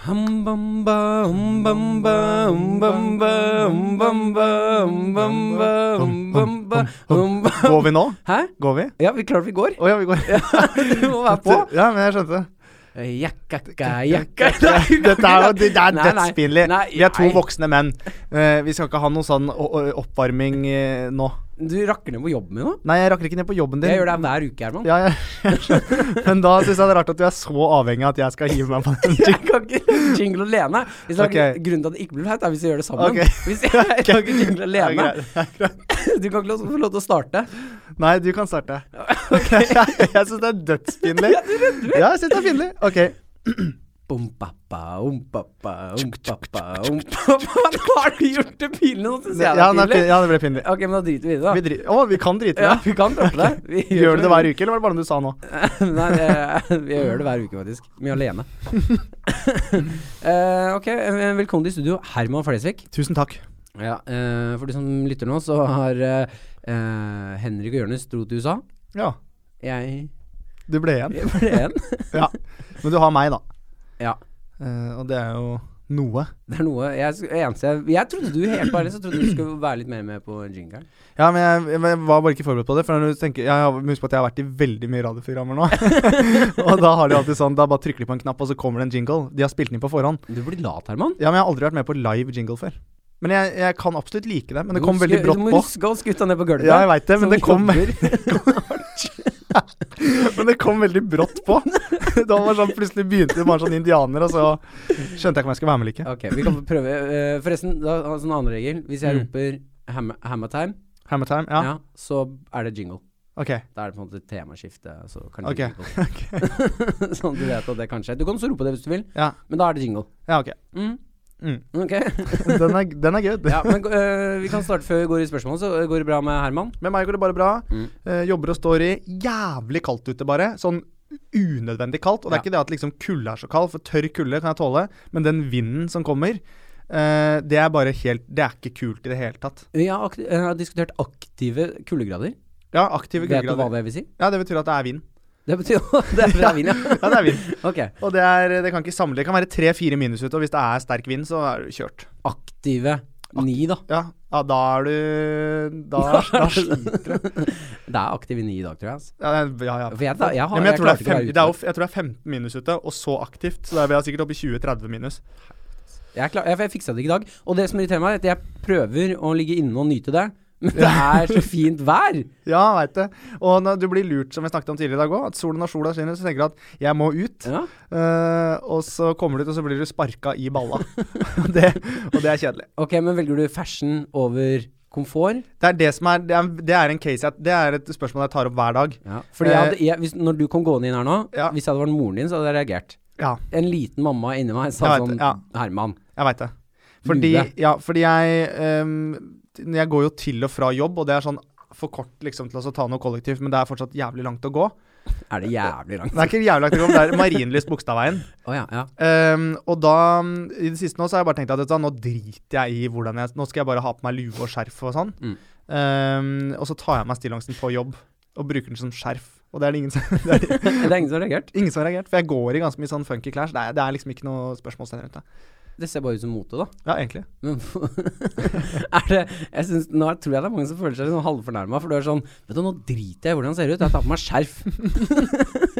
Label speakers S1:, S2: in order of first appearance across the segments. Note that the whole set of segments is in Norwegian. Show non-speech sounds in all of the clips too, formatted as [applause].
S1: Hambamba, humbamba, humbamba, humbamba, humbamba, humbamba, humbamba.
S2: Går vi nå?
S1: Hæ?
S2: Går vi?
S1: Ja, vi klart vi går. [laughs]
S2: Å ja, vi går.
S1: Du må være på.
S2: Ja, men jeg skjønte det.
S1: Jakkakka, jakka Nei,
S2: [laughs] Dette er, jo- det, det er
S1: Nei, nei.
S2: dødspinlig.
S1: Nei,
S2: Vi er to
S1: nei.
S2: voksne menn. Eh, vi skal ikke ha noe sånn o- o- oppvarming eh, nå.
S1: Du rakker ned på jobben min nå.
S2: Nei, jeg rakker ikke ned på jobben din.
S1: Jeg gjør det hver uke, Herman.
S2: Ja, jeg, [laughs] men da syns jeg det er rart at du er så avhengig av at jeg skal hive meg på
S1: [laughs]
S2: den.
S1: [laughs] Jeg kan ikke [laughs] jingle alene. Hvis det er
S2: Ok.
S1: Grunnen til at det ikke blir flaut, er hvis jeg gjør det sammen.
S2: Ok.
S1: Hvis jeg, jeg kan ikke jingle
S2: [laughs] Det er
S1: alene.
S2: greit, det er greit.
S1: Du kan ikke få lov til å starte.
S2: Nei, du kan
S1: [laughs]
S2: starte. [laughs] jeg syns det er dødspinlig. Ja, jeg syns det er pinlig. OK.
S1: Bom-pappa, om-pappa, om-pappa, om-pappa. Nå um. har du gjort det pinlig, nå syns jeg det
S2: Ja,
S1: er
S2: nei, pin-
S1: pinlig.
S2: ja, det ble pinlig.
S1: Ok, men da driter vi i det, da.
S2: Vi dri- Å, vi kan drite i
S1: Ja,
S2: det.
S1: vi kan droppe det. Vi
S2: [laughs] Gjør du det hver uke, eller var det bare noe du sa nå?
S1: [laughs] Nei, det, vi gjør det hver uke, faktisk. Mye
S2: [laughs]
S1: alene. Eh, ok, eh, velkommen til studio, Herman Flesvig.
S2: Tusen takk.
S1: Ja, eh, for de som lytter nå, så har eh, eh, Henrik og Jonis dro til USA.
S2: Ja,
S1: Jeg
S2: du ble igjen.
S1: jeg ble igjen.
S2: Ja. Men du har meg, da.
S1: Ja.
S2: Eh, og det er jo noe.
S1: Det er noe Jeg, sk- eneste, jeg, jeg trodde du helt ærlig så trodde du skulle være litt mer med på jingeren.
S2: Ja, men jeg, jeg var bare ikke forberedt på det. For når du tenker, jeg har, Husk på at jeg har vært i veldig mye radioprogrammer nå.
S1: [laughs]
S2: og da har de alltid sånn Da bare trykker de på en knapp, og så kommer det en jingle. De har spilt den inn på forhånd.
S1: Du blir lat, Herman.
S2: Ja, men jeg har aldri vært med på live jingle før. Men jeg, jeg kan absolutt like det. Men det
S1: Du
S2: kom
S1: må
S2: veldig
S1: huske- Du
S2: brått
S1: må
S2: på.
S1: huske å skutte ned på gulvet.
S2: Ja, jeg veit det, men
S1: som
S2: det, kom, [laughs]
S1: jobber.
S2: men det kom veldig brått
S1: [laughs]
S2: på. da var det sånn, Plutselig begynte det bare sånn indianer, og så skjønte jeg ikke om jeg skulle være med eller ikke.
S1: Ok, vi kan prøve. eh, forresten, da, altså en annen regel. Hvis jeg
S2: Mm.
S1: roper hammer, hammer time,
S2: Hammer time,
S1: ja.
S2: ja.
S1: så er det jingle.
S2: Ok.
S1: Da er det på en måte temaskifte. Så kan
S2: Ok. [laughs]
S1: det jingle. [laughs] sånn at du vet at det kan skje. Du kan også rope det hvis du vil,
S2: Ja.
S1: men da er det jingle.
S2: Ja, ok.
S1: Mm.
S2: Mm.
S1: Ok.
S2: [laughs] Den er, den er good.
S1: ja, men eh, vi kan starte før vi går i spørsmål. Så eh, går det bra med Herman?
S2: Med meg går det bare bra.
S1: Mm.
S2: Eh, jobber og står i jævlig kaldt ute, bare. Sånn unødvendig kaldt. Og det er
S1: Ja.
S2: ikke det at liksom kulde er så kald, for tørr kulde kan jeg tåle. Men den vinden som kommer, eh, det er bare helt Det er ikke kult i det hele tatt.
S1: Vi har, akti- jeg har diskutert aktive kuldegrader.
S2: Ja, aktive
S1: Vet du hva
S2: kuldegrader.
S1: det vil si?
S2: Ja, det betyr at det er vind.
S1: Det betyr jo [laughs] Det er fra Wien, ja.
S2: Ja, det er vind.
S1: [laughs] Ok.
S2: Og det, er, det kan ikke samle Det kan være tre-fire minus ute, og hvis det er sterk vind, så er du kjørt.
S1: Aktive ni, da.
S2: Ja, ja da er du Da,
S1: [laughs]
S2: da sliter du.
S1: Det er aktive ni i dag, tror jeg. Altså.
S2: Ja, ja, ja.
S1: For jeg, da, jeg, har,
S2: Ja, men jeg, tror det
S1: klarte ikke
S2: er
S1: å
S2: fem,
S1: være
S2: det er,
S1: ute.
S2: jo f- jeg tror det er 15 minus ute, og så aktivt. Så da er vi sikkert oppe i 20-30 minus.
S1: Jeg, klar, jeg, jeg fiksa det ikke i dag. Og det som irriterer meg, er at jeg prøver å ligge inne og nyte det, [laughs] men det er så fint vær.
S2: Ja, veit det. Og når du blir lurt, som vi snakket om tidligere i dag òg, at solen og sola skinner, så tenker du at 'jeg må ut',
S1: Ja.
S2: eh, og så kommer du ut, og så blir du sparka i balla. [laughs] Og det, og det er kjedelig.
S1: Ok, men velger du fashion over komfort?
S2: Det er det som er Det er, det er en case jeg, Det er et spørsmål jeg tar opp hver dag.
S1: Fordi jeg
S2: Eh,
S1: hadde, jeg, hvis, når du kom gående inn her nå,
S2: Ja.
S1: hvis jeg hadde vært moren din, så hadde jeg reagert.
S2: Ja,
S1: En liten mamma inni meg sa
S2: Jeg vet
S1: sånn
S2: det, ja.
S1: Herman.
S2: jeg veit det. Fordi,
S1: Lue.
S2: ja, fordi jeg ehm, Jeg går jo til og fra jobb, og det er sånn for kort liksom til å så ta noe kollektivt, men det er fortsatt jævlig langt å gå.
S1: Er det jævlig langt?
S2: Det er ikke jævlig langt å gå, men det er Marienlyst Bogstadveien.
S1: Å ja, ja.
S2: Ehm, og da, mm, i det siste nå, så har jeg bare tenkt at vet du hva, nå driter jeg i hvordan jeg Nå skal jeg bare ha på meg lue og skjerf og sånn.
S1: Mm.
S2: Ehm, og så tar jeg meg stillongsen på jobb og bruker den som skjerf. Og det er det ingen som, [laughs] det er
S1: Det er ingen som har reagert.
S2: ingen som har reagert, for jeg går i ganske mye sånn funky klær. Så det er, det er liksom ikke noe spørsmålstegn rundt det.
S1: Det ser bare ut som mote, da.
S2: Ja, egentlig.
S1: Men [laughs] er det jeg synes, Nå er- tror jeg det er mange som føler seg litt sånn halvfornærma, for du er sånn Vet du, nå driter jeg i hvordan det ser ut, jeg tar på meg skjerf. [laughs]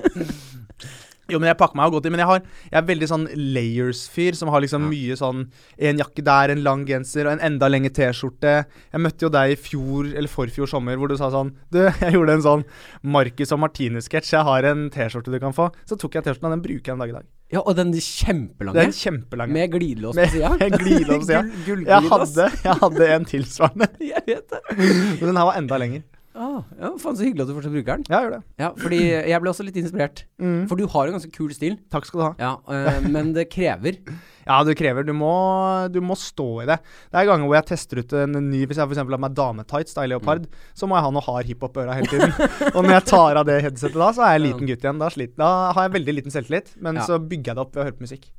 S2: Jo, men jeg pakker meg jo godt inn. Men jeg, har, jeg er veldig sånn layers-fyr, som har liksom mye sånn En jakke der, en lang genser og en enda lengre T-skjorte. Jeg møtte jo deg i fjor, eller forfjor sommer, hvor du sa sånn Du, [laughs] jeg gjorde en sånn Marcus og Martinus-sketsj. Jeg har en T-skjorte du kan få. Så tok jeg T-skjorten, og den bruker jeg en dag i dag.
S1: Ja, og den
S2: Det er en
S1: kjempelange.
S2: kjempelang
S1: Med glidelås på
S2: Med-
S1: sida.
S2: med glidelås på
S1: [laughs]
S2: sida. jeg hadde, jeg hadde en tilsvarende, [laughs]
S1: Jeg vet det.
S2: men den her var enda lenger.
S1: Ah, ja, faen så hyggelig at du fortsatt bruker den.
S2: Ja, jeg gjør det.
S1: Ja, fordi jeg ble også litt inspirert.
S2: Mm.
S1: For du har en ganske kul stil,
S2: Takk skal du ha.
S1: ja,
S2: [laughs]
S1: eh, men det krever.
S2: Ja, du krever Du må, du må stå i det. Det er ganger hvor jeg tester ut en ny Hvis jeg f.eks. har på meg dametights da, i leopard,
S1: Mm.
S2: så må jeg ha noe hard hiphop på øra hele tiden. [laughs] og når jeg tar av det headsetet da, så er jeg en liten gutt igjen. Da, slit, da har jeg veldig liten selvtillit, men
S1: Ja.
S2: så bygger jeg det opp ved å høre på musikk.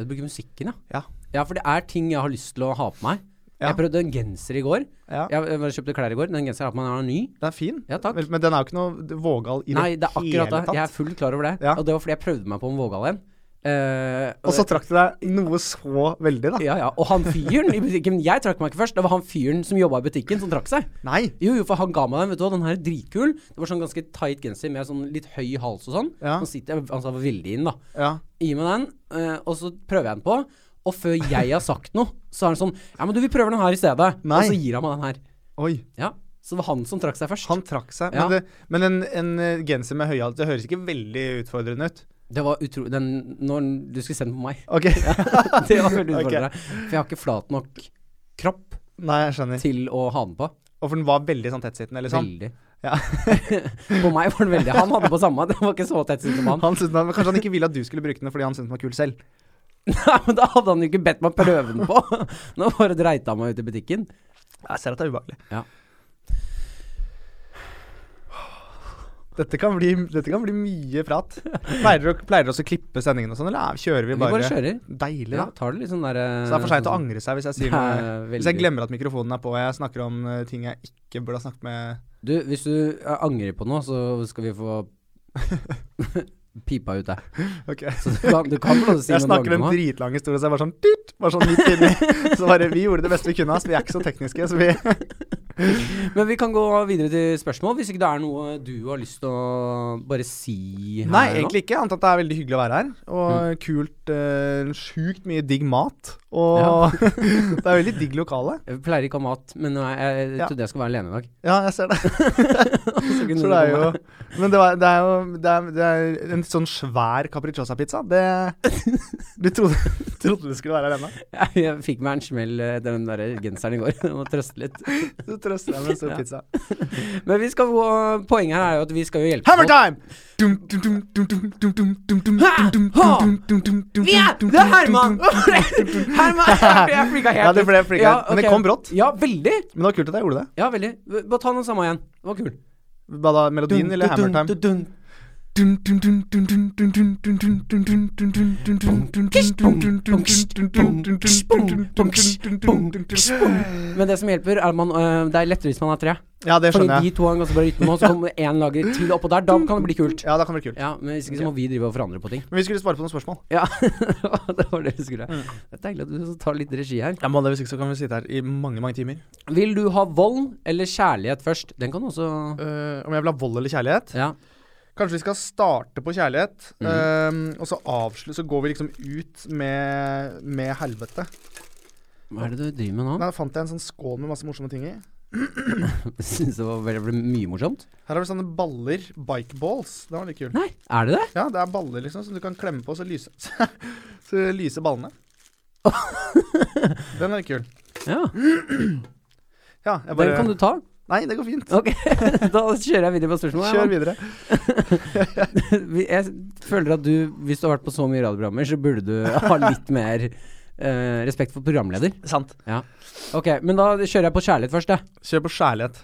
S1: Du bruker musikken, ja.
S2: Ja.
S1: Ja, for det er ting jeg har lyst til å ha på meg.
S2: Ja.
S1: Jeg prøvde en genser i går.
S2: Ja.
S1: Jeg, jeg kjøpte klær i går. Den genseren jeg har på meg, den er ny.
S2: Den er fin,
S1: Ja, takk.
S2: men, men den er jo ikke noe vågal i
S1: Nei, det er
S2: hele
S1: akkurat det.
S2: tatt.
S1: Jeg er fullt klar over det.
S2: Ja.
S1: Og det var fordi jeg prøvde meg på en vågal en. Eh,
S2: Og så trakk du deg noe så veldig, da.
S1: Ja, ja. Og han fyren i butikken Jeg trakk meg ikke først. Det var han fyren som jobba i butikken, som trakk seg.
S2: Nei.
S1: Jo, jo, for han ga meg den. Vet du hva, den her er dritkul. Det var sånn ganske tight genser med sånn litt høy hals og sånn.
S2: Ja.
S1: Han sitter Han sa veldig inn, da.
S2: Ja.
S1: Gi meg den, eh, og så prøver jeg den på. Og før jeg har sagt noe, så er han sånn Ja, men du, vi prøver den her i stedet.
S2: Nei.
S1: Og så gir han meg den her.
S2: Oi.
S1: Ja. Så det var han som trakk seg først.
S2: Han trakk seg.
S1: Ja.
S2: Men, det, men en, en eh, genser med høyhalt, det høres ikke veldig utfordrende ut.
S1: Det var utrolig Den når du skulle sende den på meg.
S2: Ok.
S1: [laughs] Det var veldig
S2: Ok.
S1: utfordrende. For jeg har ikke flat nok kropp
S2: Nei, jeg skjønner.
S1: til å ha den på.
S2: Og for den var veldig sånn tettsittende, liksom.
S1: Veldig.
S2: Ja.
S1: [laughs] på meg var den veldig Han hadde på samme, det var ikke så tett som han. [laughs]
S2: Han syntes den- men Kanskje han ikke ville at du skulle bruke den fordi han syntes den var kul selv.
S1: Nei, men da hadde han jo ikke bedt meg prøve den på. [laughs] Nå bare dreit han meg ut i butikken.
S2: Jeg ser at det er ubehagelig.
S1: Ja.
S2: Dette kan, bli, dette kan bli mye prat. Pleier dere å- pleier dere også å klippe sendingen og sånn, eller er- kjører vi
S1: Vi
S2: bare?
S1: bare kjører.
S2: Deilig,
S1: Ja,
S2: da.
S1: tar det litt sånn der
S2: Så det er for seint å angre seg
S1: [laughs]
S2: hvis jeg sier noe Hvis jeg glemmer at mikrofonen er på og jeg snakker om eh, ting jeg ikke burde ha snakket med
S1: Du, hvis du eh, angrer på noe, så skal vi
S2: [laughs]
S1: få [laughs] pipa ut deg.
S2: Ok.
S1: Så du kan, du kan få lov til å si
S2: Jeg
S1: noe du angrer
S2: snakker en
S1: på. nå.
S2: dritlang historie, så jeg var sånn dyrt, var sånn midt
S1: [laughs]
S2: inni. Så bare Vi gjorde det beste vi kunne, ass. Vi er ikke så tekniske, så vi
S1: Men vi kan gå videre til spørsmål, hvis ikke det er noe du har lyst til å bare si her
S2: Nei, egentlig ikke. Annet at det er veldig hyggelig å være her. Og kult eh, Sjukt mye digg mat. Og [laughs] det er veldig digg lokale.
S1: nå. Jeg pleier ikke å ha mat, men nå er jeg, jeg
S2: Ja.
S1: trodde jeg skulle være alene i dag.
S2: Ja, jeg ser det.
S1: Så kunne
S2: Så
S1: du
S2: det er
S1: komme.
S2: jo
S1: [laughs]
S2: Men det, var, det er jo det er, det er en sånn svær capricciosa-pizza. Det Du trodde, [laughs] trodde du skulle være her ennå?
S1: Jeg, jeg fikk meg en smell eh, etter den der genseren i går. [laughs] Jeg må trøste litt.
S2: Du trøster deg med en stor
S1: Ja.
S2: pizza.
S1: Men vi skal gå, poenget her er jo at vi skal jo hjelpe
S2: Hammer
S1: folk.
S2: time! Dum, dum, dum, dum, dum, dum, dum, dum, dum,
S1: Hæ?
S2: dum, dum,
S1: Hå!
S2: dum, dum, dum, dum,
S1: Vi er
S2: dum,
S1: Det er
S2: dum,
S1: Herman!
S2: dum, dum.
S1: [laughs] Herman! Jeg freaka helt
S2: Ja, det ble freaket.
S1: Ja,
S2: Men det
S1: ok.
S2: kom brått.
S1: Ja, veldig.
S2: Men det var kult at jeg gjorde det.
S1: Ja, veldig. B- Bare ta den samme igjen. Det var kul.
S2: Hva da, melodien eller Hammer time?
S3: Hammertime.
S1: Men det som hjelper, er at man, øh, det er lettere hvis man er tre.
S2: Ja, det
S1: Fordi
S2: skjønner jeg.
S1: de to har en ganske bra rytme nå, så kommer én lager til oppå der. Da kan det bli kult.
S2: Ja, det kan bli kult.
S1: Ja, Men hvis ikke så må vi drive og forandre på ting.
S2: Men vi skulle svare på noen spørsmål.
S1: [laughs] Ja, det var det vi skulle.
S2: Mm.
S1: Det er deilig at du tar litt regi her.
S2: Jeg må det, hvis ikke så kan vi sitte her i mange, mange timer.
S1: Vil du ha vold eller kjærlighet først? Den kan du også
S2: Eh, om jeg vil ha vold eller kjærlighet?
S1: Ja.
S2: Kanskje vi skal starte på kjærlighet,
S1: Mhm.
S2: eh, og så avslutte Så går vi liksom ut med, med helvete.
S1: Hva er det du driver med nå? [laughs]
S2: Der fant jeg en sånn skål med masse morsomme ting i.
S1: Syns det var veldig, veldig mye morsomt.
S2: Her har vi sånne baller. Bike balls. Det var litt kult.
S1: Nei, er det det?
S2: Ja, det er baller liksom som du kan klemme på, så lyse [laughs] Så lyser
S1: [laughs]
S2: ballene. Den er kul.
S1: Ja.
S2: Ja, jeg
S1: Den
S2: bare
S1: kan du ta. [laughs]
S2: Nei, det går fint.
S1: Ok, da kjører jeg videre på spørsmålet.
S2: Kjør videre.
S1: [laughs] Vi- Jeg føler at du, hvis du har vært på så mye radioprogrammer, så burde du [laughs] ha litt mer eh, respekt for programleder.
S2: Sant.
S1: Ok, men da kjører jeg på kjærlighet først, jeg.
S2: Kjør på kjærlighet.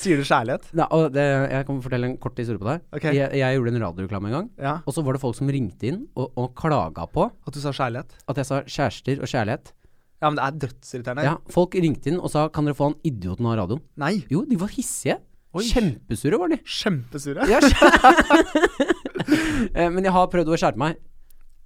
S2: Sier du kjærlighet?
S1: Da, og det, jeg kan fortelle en kort historie på deg.
S2: Ok.
S1: Jeg, jeg gjorde en radioreklame en gang,
S2: Ja.
S1: og så var det folk som ringte inn og, og klaga på
S2: At du sa kjærlighet?
S1: at jeg sa kjærester og kjærlighet.
S2: Ja, men det er dødsirriterende.
S1: Ja, folk ringte inn og sa kan dere få han idioten av radioen?
S2: Nei.
S1: Jo, de var hissige.
S2: Oi.
S1: Kjempesure
S2: [laughs]
S1: var de.
S2: Kjempesure.
S1: Ja, skj- [laughs] Eh, Men jeg har prøvd å skjerpe meg.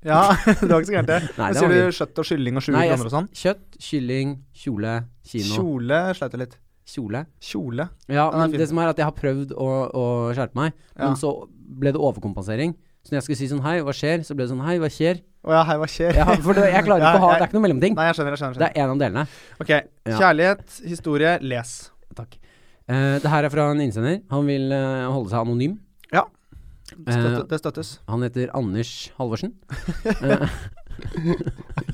S2: Ja, [laughs] det var ikke så gærent, det.
S1: Nei,
S2: Men
S1: det
S2: sier
S1: var
S2: du
S1: gøy.
S2: kjøtt og kylling og 20
S1: Nei, jeg-
S2: kroner og sånn?
S1: Kjøtt, kylling, kjole, kino,
S2: Kjole sleit jeg litt.
S1: kjole.
S2: Kjole.
S1: Ja,
S2: Den er
S1: men
S2: fin.
S1: det som er at jeg har prøvd å, å skjerpe meg,
S2: Ja.
S1: men så ble det overkompensering. Så når jeg skulle si sånn hei, hva skjer? Så ble det sånn hei, hva skjer?
S2: Å ja, hei, hva skjer?
S1: Ja, for det, jeg klarer
S2: Ja,
S1: ikke å ha
S2: jeg-
S1: Det er ikke noe mellomting.
S2: [laughs] Nei, jeg skjønner, jeg skjønner.
S1: Det er én av delene.
S2: skjønner. Ok. Kjærlighet, historie, les.
S1: Takk. Eh, det her er fra en innsender. Han vil eh, holde seg anonym.
S2: Ja.
S1: Eh,
S2: Støtte, det støttes. [laughs]
S1: han heter Anders Halvorsen. Eh,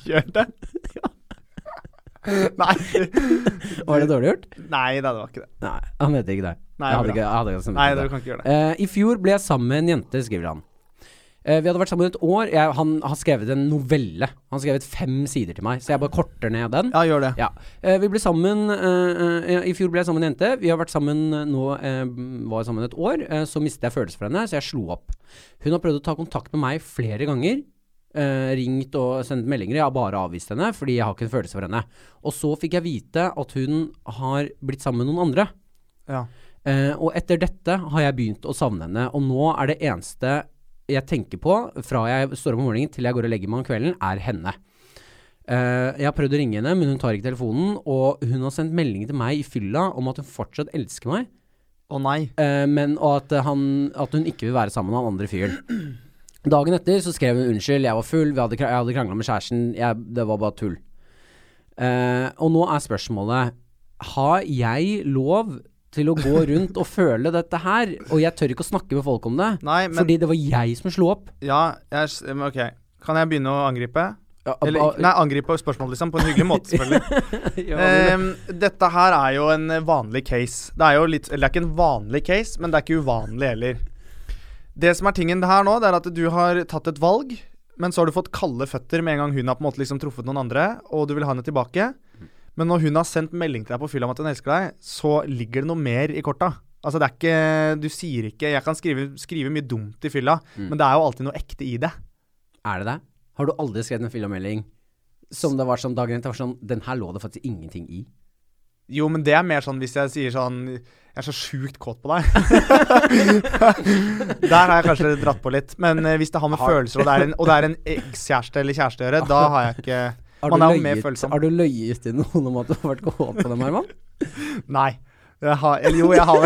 S2: Gjør det? [laughs] Nei. [laughs]
S1: var det dårlig gjort?
S2: Nei, nei, det var ikke det.
S1: Nei, han heter ikke det.
S2: Nei,
S1: jeg hadde
S2: bra.
S1: ikke, jeg hadde ikke sendt
S2: Nei,
S1: det.
S2: du kan ikke gjøre det.
S1: Eh, I fjor ble jeg sammen med en jente, skriver han. Eh, vi hadde vært sammen et år. Jeg, han har skrevet en novelle. Han har skrevet fem sider til meg, så jeg bare korter ned den.
S2: Ja, gjør det.
S1: Ja. Eh, vi ble sammen eh, eh, I fjor ble jeg sammen med en jente. Vi har vært sammen eh, nå eh, Var sammen et år. Eh, så mistet jeg følelser for henne, så jeg slo opp. Hun har prøvd å ta kontakt med meg flere ganger. eh, ringt og sendt meldinger. Jeg har bare avvist henne fordi jeg har ikke en følelse for henne. Og så fikk jeg vite at hun har blitt sammen med noen andre.
S2: Ja.
S1: Eh, og etter dette har jeg begynt å savne henne, og nå er det eneste jeg tenker på fra jeg står opp om morgenen til jeg går og legger meg om kvelden, er henne. Eh, jeg har prøvd å ringe henne, men hun tar ikke telefonen. Og hun har sendt melding til meg i fylla om at hun fortsatt elsker meg,
S2: Å nei.
S1: eh, men og at, eh, han, at hun ikke vil være sammen med han andre fyren. [clears throat] Dagen etter så skrev hun unnskyld, jeg var full, vi hadde, kra- jeg hadde krangla med kjæresten, jeg, det var bare tull. Eh, og nå er spørsmålet Har jeg lov til å
S2: [laughs]
S1: gå rundt og føle dette her? Og jeg tør ikke å snakke med folk om det,
S2: Nei, men
S1: fordi det var jeg som slo opp.
S2: Ja, jeg, s- men OK. Kan jeg begynne å angripe?
S1: Ja,
S2: Eller,
S1: ba-
S2: ikke- nei, angripe spørsmålet, liksom. På en hyggelig
S1: [laughs]
S2: måte, selvfølgelig.
S1: Ja, men-
S2: Ehm, dette her er jo en eh, vanlig case. Det er jo litt Eller det er ikke en vanlig case, men det er ikke uvanlig heller. Det som er tingen her nå, det er at du har tatt et valg, men så har du fått kalde føtter med en gang hun har på en måte liksom truffet noen andre, og du vil ha henne tilbake. Men når hun har sendt melding til deg på fylla om at hun elsker deg, så ligger det noe mer i korta. Altså, det er ikke Du sier ikke Jeg kan skrive, skrive mye dumt i fylla,
S1: Mm.
S2: men det er jo alltid noe ekte i det.
S1: er det det? Har du aldri skrevet en filmmelding som det var sånn dagen etter? var Sånn, den her lå det faktisk ingenting i.
S2: Jo, men det er mer sånn hvis jeg sier sånn Jeg er så sjukt kåt på deg. Der har jeg kanskje dratt på litt. Men eh, hvis det har med
S1: Har-
S2: følelser og det er en, og det er en ekskjæreste eller kjæreste å gjøre, da har jeg ikke
S1: Har
S2: Man
S1: du,
S2: er jo mer
S1: løyet,
S2: følsom.
S1: har du løyet til noen om at du har vært kåt på dem, Herman?
S2: Nei. Jeg har, eller jo, jeg har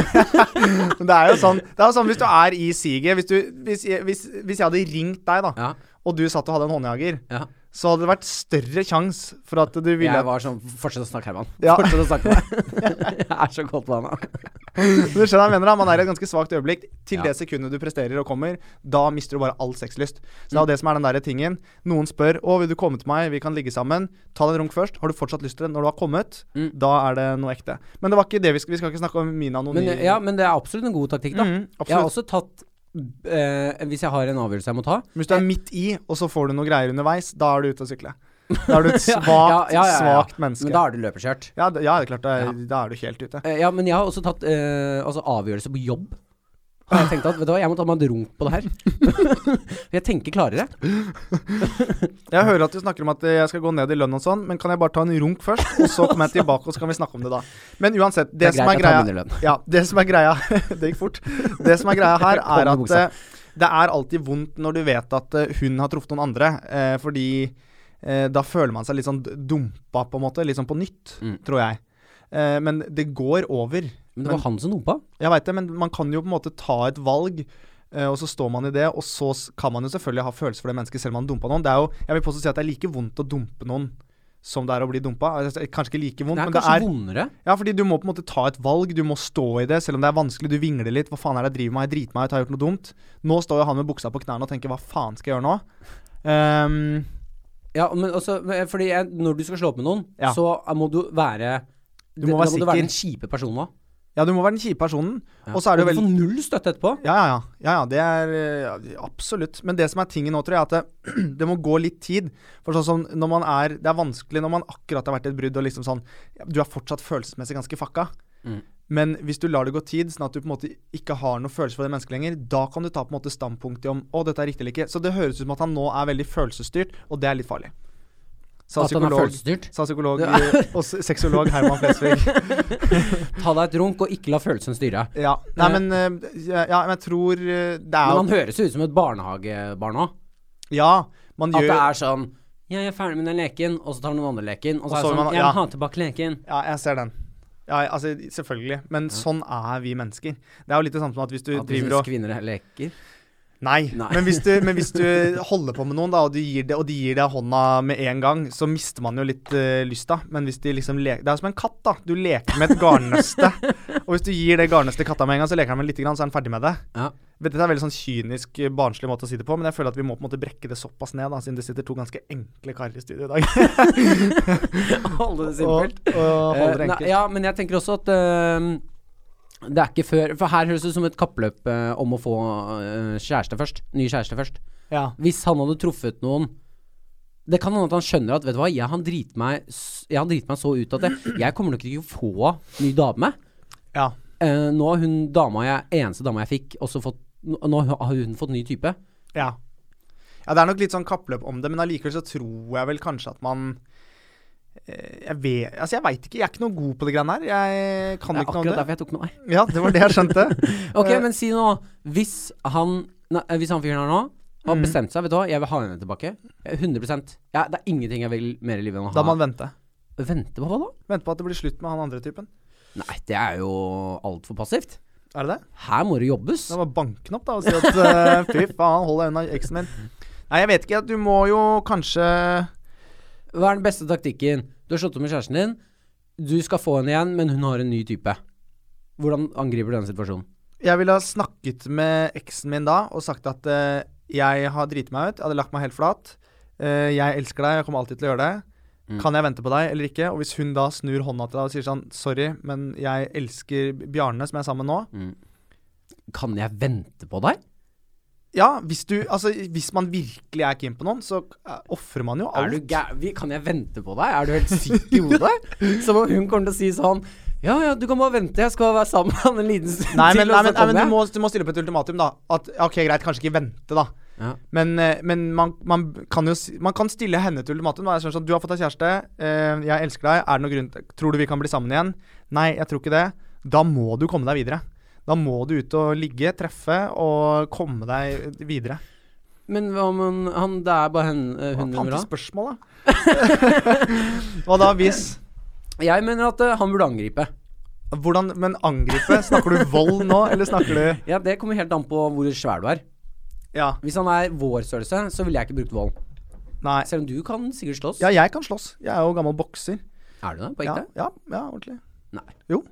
S2: [laughs] Men det er jo sånn, det er jo sånn hvis du er i siget hvis, du- hvis, jeg- hvis, hvis jeg hadde ringt deg, da,
S1: [laughs] Ja.
S2: og du satt og hadde en håndjager,
S1: ja.
S2: så hadde det vært større sjanse for at du ville
S1: Jeg var sånn Fortsett å snakke, Herman.
S2: Ja.
S1: Fortsett å snakke [laughs] med deg. Jeg er så kåt på henne.
S2: Du skjønner hva jeg mener da, Man er i et ganske svakt øyeblikk. Til
S1: Ja.
S2: det sekundet du presterer og kommer, da mister du bare all sexlyst. Så
S1: Mm.
S2: det er jo det som er den der tingen. Noen spør å, vil du komme til meg, vi kan ligge sammen. Ta deg en runk først. Har du fortsatt lyst til det? Når du har kommet,
S1: Mm.
S2: da er det noe ekte. Men det var ikke det vi skal Vi skal ikke snakke om min anonyme
S1: Men, eh, ja, men det er absolutt en god taktikk, da. altså,
S2: mm,
S1: jeg har også
S2: Absolutt.
S1: tatt eh, Hvis jeg har en avgjørelse jeg må ta
S2: Men hvis du er midt i, og så får du noe greier underveis, da er du ute å
S1: [laughs]
S2: sykle. Da er du et svakt,
S1: Ja, ja, ja, ja.
S2: svakt menneske.
S1: Men da er det løpeskjørt.
S2: ja, det, ja, det er klart. Da,
S1: Ja.
S2: er- da er du helt ute.
S1: Eh, ja, men jeg har også tatt eh, altså avgjørelse på jobb. Har jeg tenkt at Vet du hva, jeg må ta meg en runk på det her. [laughs] jeg tenker klarere.
S2: Jeg hører at du snakker om at eh, jeg skal gå ned i lønn og sånn, men kan jeg bare ta en runk først, og så kommer jeg tilbake, og så kan vi snakke om det da. Men uansett, det,
S1: Det er
S2: som er
S1: greit, jeg tar
S2: greia
S1: min lønn.
S2: Ja, det som er greia [laughs] Det gikk fort. Det som er greia
S1: [laughs]
S2: her,
S1: Kom
S2: er
S1: med
S2: at
S1: buksa.
S2: eh, det er alltid vondt når du vet at eh, hun har truffet noen andre, eh, fordi eh, da føler man seg litt sånn d- dumpa, på en måte. Litt sånn på nytt,
S1: Mm.
S2: tror jeg. Eh, men det går over.
S1: Men det var
S2: Men-
S1: han som dumpa.
S2: Jeg veit det, men man kan jo på en måte ta et valg. eh, Og så står man i det, og så s- kan man jo selvfølgelig ha følelser for det mennesket selv om man dumpa noen. Det er jo, jeg vil påstå si at det er like vondt å dumpe noen som det er å bli dumpa. Altså, Kanskje ikke like vondt,
S1: Det er
S2: men det
S1: kanskje
S2: er
S1: vondere.
S2: Ja, fordi du må på en måte ta et valg, du må stå i det, selv om det er vanskelig, du vingler litt. Hva faen er det jeg driver med, jeg driter meg ut, har jeg gjort noe dumt? Nå står jo han med buksa på knærne og tenker hva faen skal jeg gjøre nå? Ehm,
S1: Ja, men altså, men, eh, fordi jeg, når du skal slå opp med noen,
S2: Ja.
S1: så eh, må du være
S2: Du må være
S1: Da må du være
S2: sikker.
S1: den kjipe personen òg.
S2: ja, du må være den kjipe personen. Og så er det jo
S1: du får null støtte etterpå.
S2: Ja, ja, ja. ja, ja det er eh, ja, Absolutt. Men det som er tingen nå, tror jeg, er at det, [clears throat] det må gå litt tid. For sånn som når man er Det er vanskelig når man akkurat har vært i et brudd og liksom sånn ja, Du er fortsatt følelsesmessig ganske fucka.
S1: Mm.
S2: Men hvis du lar det gå tid, sånn at du på en måte ikke har noe følelse for det mennesket lenger, da kan du ta på en måte standpunkt i om å, dette er riktig eller ikke. Så det høres ut som at han nå er veldig følelsesstyrt, og det er litt farlig. Sa
S1: At han er
S2: psykolog,
S1: følelsesstyrt.
S2: sa psykolog [laughs] og s- sexolog Herman Flesvig.
S1: [laughs] Ta deg et runk, og ikke la følelsen styre.
S2: Ja. Nei, men eh, Ja, ja, men jeg tror eh, det er
S1: Men
S2: jo
S1: han høres jo ut som et barnehagebarn òg.
S2: Ja, man
S1: At
S2: gjør
S1: det er sånn ja, 'Jeg er ferdig med den leken', og så tar noen andre leken. Og så er det
S2: så vil
S1: sånn
S2: man-
S1: 'Jeg vil
S2: ja.
S1: ha tilbake leken'.
S2: Ja, jeg ser den. Ja, altså, selvfølgelig. Men sånn er vi mennesker. Det er jo litt det samme som at hvis du
S1: At du
S2: driver
S1: syns
S2: og
S1: kvinner leker.
S2: Nei.
S1: Nei.
S2: Men, hvis du, men hvis du
S1: [laughs]
S2: holder på med noen, da, og, du gir det, og de gir deg hånda med en gang, så mister man jo litt eh, lysta. Men hvis de liksom leker Det er jo som en katt, da. Du leker
S1: [laughs]
S2: med et garnnøste. og hvis du gir det garnnøstet til katta med en gang, så leker han med lite grann, så er han ferdig med det. [laughs]
S1: Ja.
S2: Vet, Dette er en veldig sånn kynisk, eh, barnslig måte å si det på, men jeg føler at vi må på en måte brekke det såpass ned, da, siden det sitter to ganske enkle karer i studio i dag.
S1: Holde det [laughs]
S2: og,
S1: simpelt.
S2: [laughs] og holder
S1: Eh,
S2: det
S1: nei,
S2: enkelt.
S1: ja, men jeg tenker også at eh, det er ikke før For her høres det ut som et kappløp eh, om å få eh, kjæreste først. Ny kjæreste først.
S2: Ja.
S1: Hvis han hadde truffet noen Det kan hende at han skjønner at Vet du hva, jeg har driti meg, s- jeg har driti meg så ut at jeg, jeg kommer nok ikke til å få ny dame.
S2: ja.
S1: Eh, nå har hun dama jeg, eneste dama jeg fikk, også fått Nå nå har hun fått ny type.
S2: Ja. ja, det er nok litt sånn kappløp om det, men allikevel så tror jeg vel kanskje at man eh, jeg vet, altså jeg veit ikke, jeg er ikke noe god på det greiene her. Jeg kan
S1: Det er
S2: ikke noe
S1: akkurat
S2: om det.
S1: derfor jeg tok med deg.
S2: Eh, Ja, det var det jeg skjønte.
S1: Ok,
S2: Eh,
S1: men si nå Hvis han nei, eh, hvis han fyren her nå har
S2: Mm.
S1: bestemt seg, vet du hva, jeg vil ha henne tilbake. Eh, 100 ja, Det er ingenting jeg vil mer i livet enn å
S2: Da
S1: ha
S2: må han vente.
S1: Vente på hva da?
S2: Vente på at det blir slutt med han andre typen.
S1: Nei, det er jo altfor passivt.
S2: Er det det?
S1: Her må det jobbes.
S2: Da bare bank den opp, da, og si at eh, fy faen, hold deg unna eksen min. Nei, jeg vet ikke. Du må jo kanskje
S1: Hva er den beste taktikken? Du har slått opp med kjæresten din. Du skal få henne igjen, men hun har en ny type. Hvordan angriper du den situasjonen?
S2: Jeg ville ha snakket med eksen min da og sagt at eh, jeg har driti meg ut, jeg hadde lagt meg helt flat. Eh, jeg elsker deg, jeg kommer alltid til å gjøre det.
S1: Mm.
S2: Kan jeg vente på deg eller ikke? Og hvis hun da snur hånda til deg og sier sånn Sorry, men jeg elsker Bjarne, som jeg er sammen med nå.
S1: Kan jeg vente på deg?
S2: Ja, hvis du Altså, hvis man virkelig er keen på noen, så eh, ofrer man jo
S1: Er
S2: alt.
S1: du gæ- vi- Kan jeg vente på deg? Er du helt syk i hodet?
S2: [laughs]
S1: Som om hun kommer til å si sånn Ja ja, du kan bare vente, jeg skal være sammen med han en liten stund
S2: Nei, men,
S1: til,
S2: nei,
S1: og så
S2: men, nei, men
S1: kommer
S2: du,
S1: jeg.
S2: må, du må stille opp et ultimatum, da. At OK, greit, kanskje ikke vente, da.
S1: Ja.
S2: Men, eh, men man, man kan jo si- Man kan stille henne et ultimatum. Da. Jeg skjønner sånn, Du har fått deg kjæreste. eh, jeg elsker deg. Er det noen grunn til Tror du vi kan bli sammen igjen? Nei, jeg tror ikke det. Da må du komme deg videre. Da må du ut og ligge, treffe og komme deg videre.
S1: Men hva om hun- han Det er bare hen, eh,
S2: Hva
S1: hun hun
S2: faen
S1: vil ha?
S2: til spørsmål, da? [laughs] Hva da, hvis
S1: Jeg mener at eh, han burde angripe.
S2: Hvordan Men angripe? Snakker du vold nå, eller snakker du
S1: Ja, Det kommer helt an på hvor svær du er.
S2: Ja.
S1: Hvis han er vår størrelse, så ville jeg ikke brukt vold.
S2: Nei.
S1: Selv om du kan sikkert slåss.
S2: Ja, jeg kan slåss. Jeg er jo gammel bokser.
S1: Er du det? På
S2: Ja,
S1: ekte?
S2: ja, ja, ordentlig.
S1: Nei.
S2: Jo.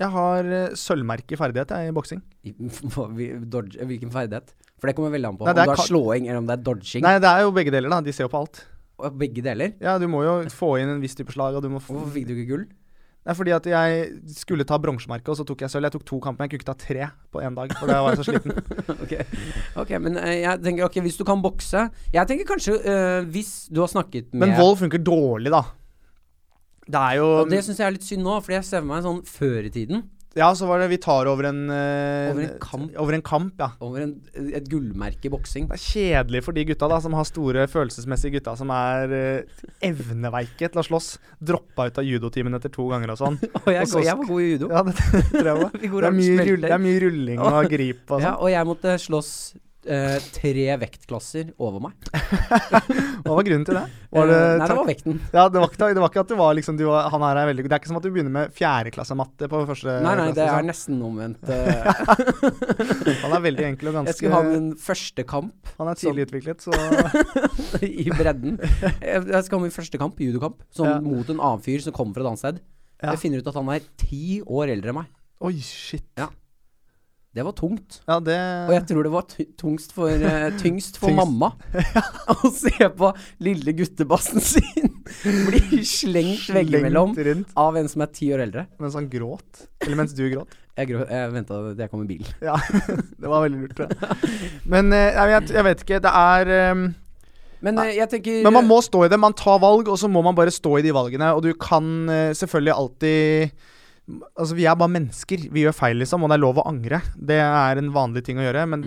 S2: Jeg har eh, sølvmerke i ferdighet jeg, i boksing.
S1: I- [laughs] hva- vi- dodge, hvilken ferdighet? For det kommer veldig an på
S2: Nei,
S1: om
S2: det er
S1: du har
S2: ka-
S1: slåing eller om det er dodging.
S2: Nei, det er jo begge deler, da. De ser jo på alt.
S1: Og Begge deler.
S2: Ja, du må jo få inn en viss type slag, og du må få
S1: Hvorfor fikk du ikke gull?
S2: Det er fordi at jeg skulle ta bronsemerke, og så tok jeg sølv. Jeg tok to kamper, men jeg kunne ikke ta tre på én dag, for da var jeg så sliten.
S1: [laughs] Ok, Ok, men eh, jeg tenker ok, hvis du kan bokse Jeg tenker kanskje eh, hvis du har snakket med
S2: Men vold funker dårlig, da. Det er jo
S1: Og Det syns jeg er litt synd nå, Fordi jeg ser for meg sånn før i tiden.
S2: Ja, så var det Vi tar over en eh,
S1: Over en kamp.
S2: Over en kamp, ja.
S1: Over en, et gullmerke i boksing.
S2: Det er kjedelig for de gutta da, som har store følelsesmessige gutta som er eh, evneveike til å slåss. Droppa ut av judotimen etter to ganger og sånn.
S1: Og jeg,
S2: [laughs] Og så
S1: går- jeg var god i judo.
S2: Ja, det tror
S1: [laughs]
S2: jeg var.
S1: Vi går
S2: Det er
S1: og
S2: mye,
S1: smelter.
S2: rull, det er mye rulling og grip og
S1: [laughs] Ja,
S2: sånn.
S1: og jeg måtte slåss eh, tre vektklasser over meg.
S2: Hva var grunnen til
S1: [laughs]
S2: det? Var det,
S1: Eh, Nei, det
S2: takk-
S1: var vekten.
S2: ja, det, var ikke, det var ikke at det var liksom du var, Han her er veldig god. Det er ikke som at du begynner med fjerdeklassematte på første
S1: Nei, nei, det er
S2: klasse.
S1: nesten omvendt. eh,
S2: [laughs] sånn. Han er veldig enkel
S1: [laughs]
S2: og
S1: Jeg
S2: ganske
S1: skulle ha min første kamp
S2: Han er
S1: sånn.
S2: tidlig utviklet,
S1: [laughs]
S2: så
S1: i bredden. Jeg jeg skal ha min første kamp, judokamp, som
S2: Ja.
S1: mot en annen fyr som kommer fra et annet sted.
S2: Ja.
S1: Jeg finner ut at han er ti år eldre enn meg.
S2: Oi, shit.
S1: Det var tungt.
S2: Ja, det
S1: Og jeg tror det var ty- tungst for, eh, tyngst for
S2: Tyngst. [laughs]
S1: mamma [laughs] å se på lille guttebassen sin [laughs] bli slengt veggimellom
S2: Slengt rundt
S1: av en som er ti år eldre.
S2: mens han gråt. Eller mens du gråt.
S1: Jeg, grå- jeg venta til jeg kom i bilen.
S2: Ja, det var veldig lurt. tror jeg. Men eh, nei, jeg, jeg vet ikke. Det er eh,
S1: Men eh, jeg tenker
S2: Men man må stå i det. Man tar valg, og så må man bare stå i de valgene. Og du kan eh, selvfølgelig alltid Altså, vi er bare mennesker. Vi gjør feil, liksom, og det er lov å angre. Det er en vanlig ting å gjøre, men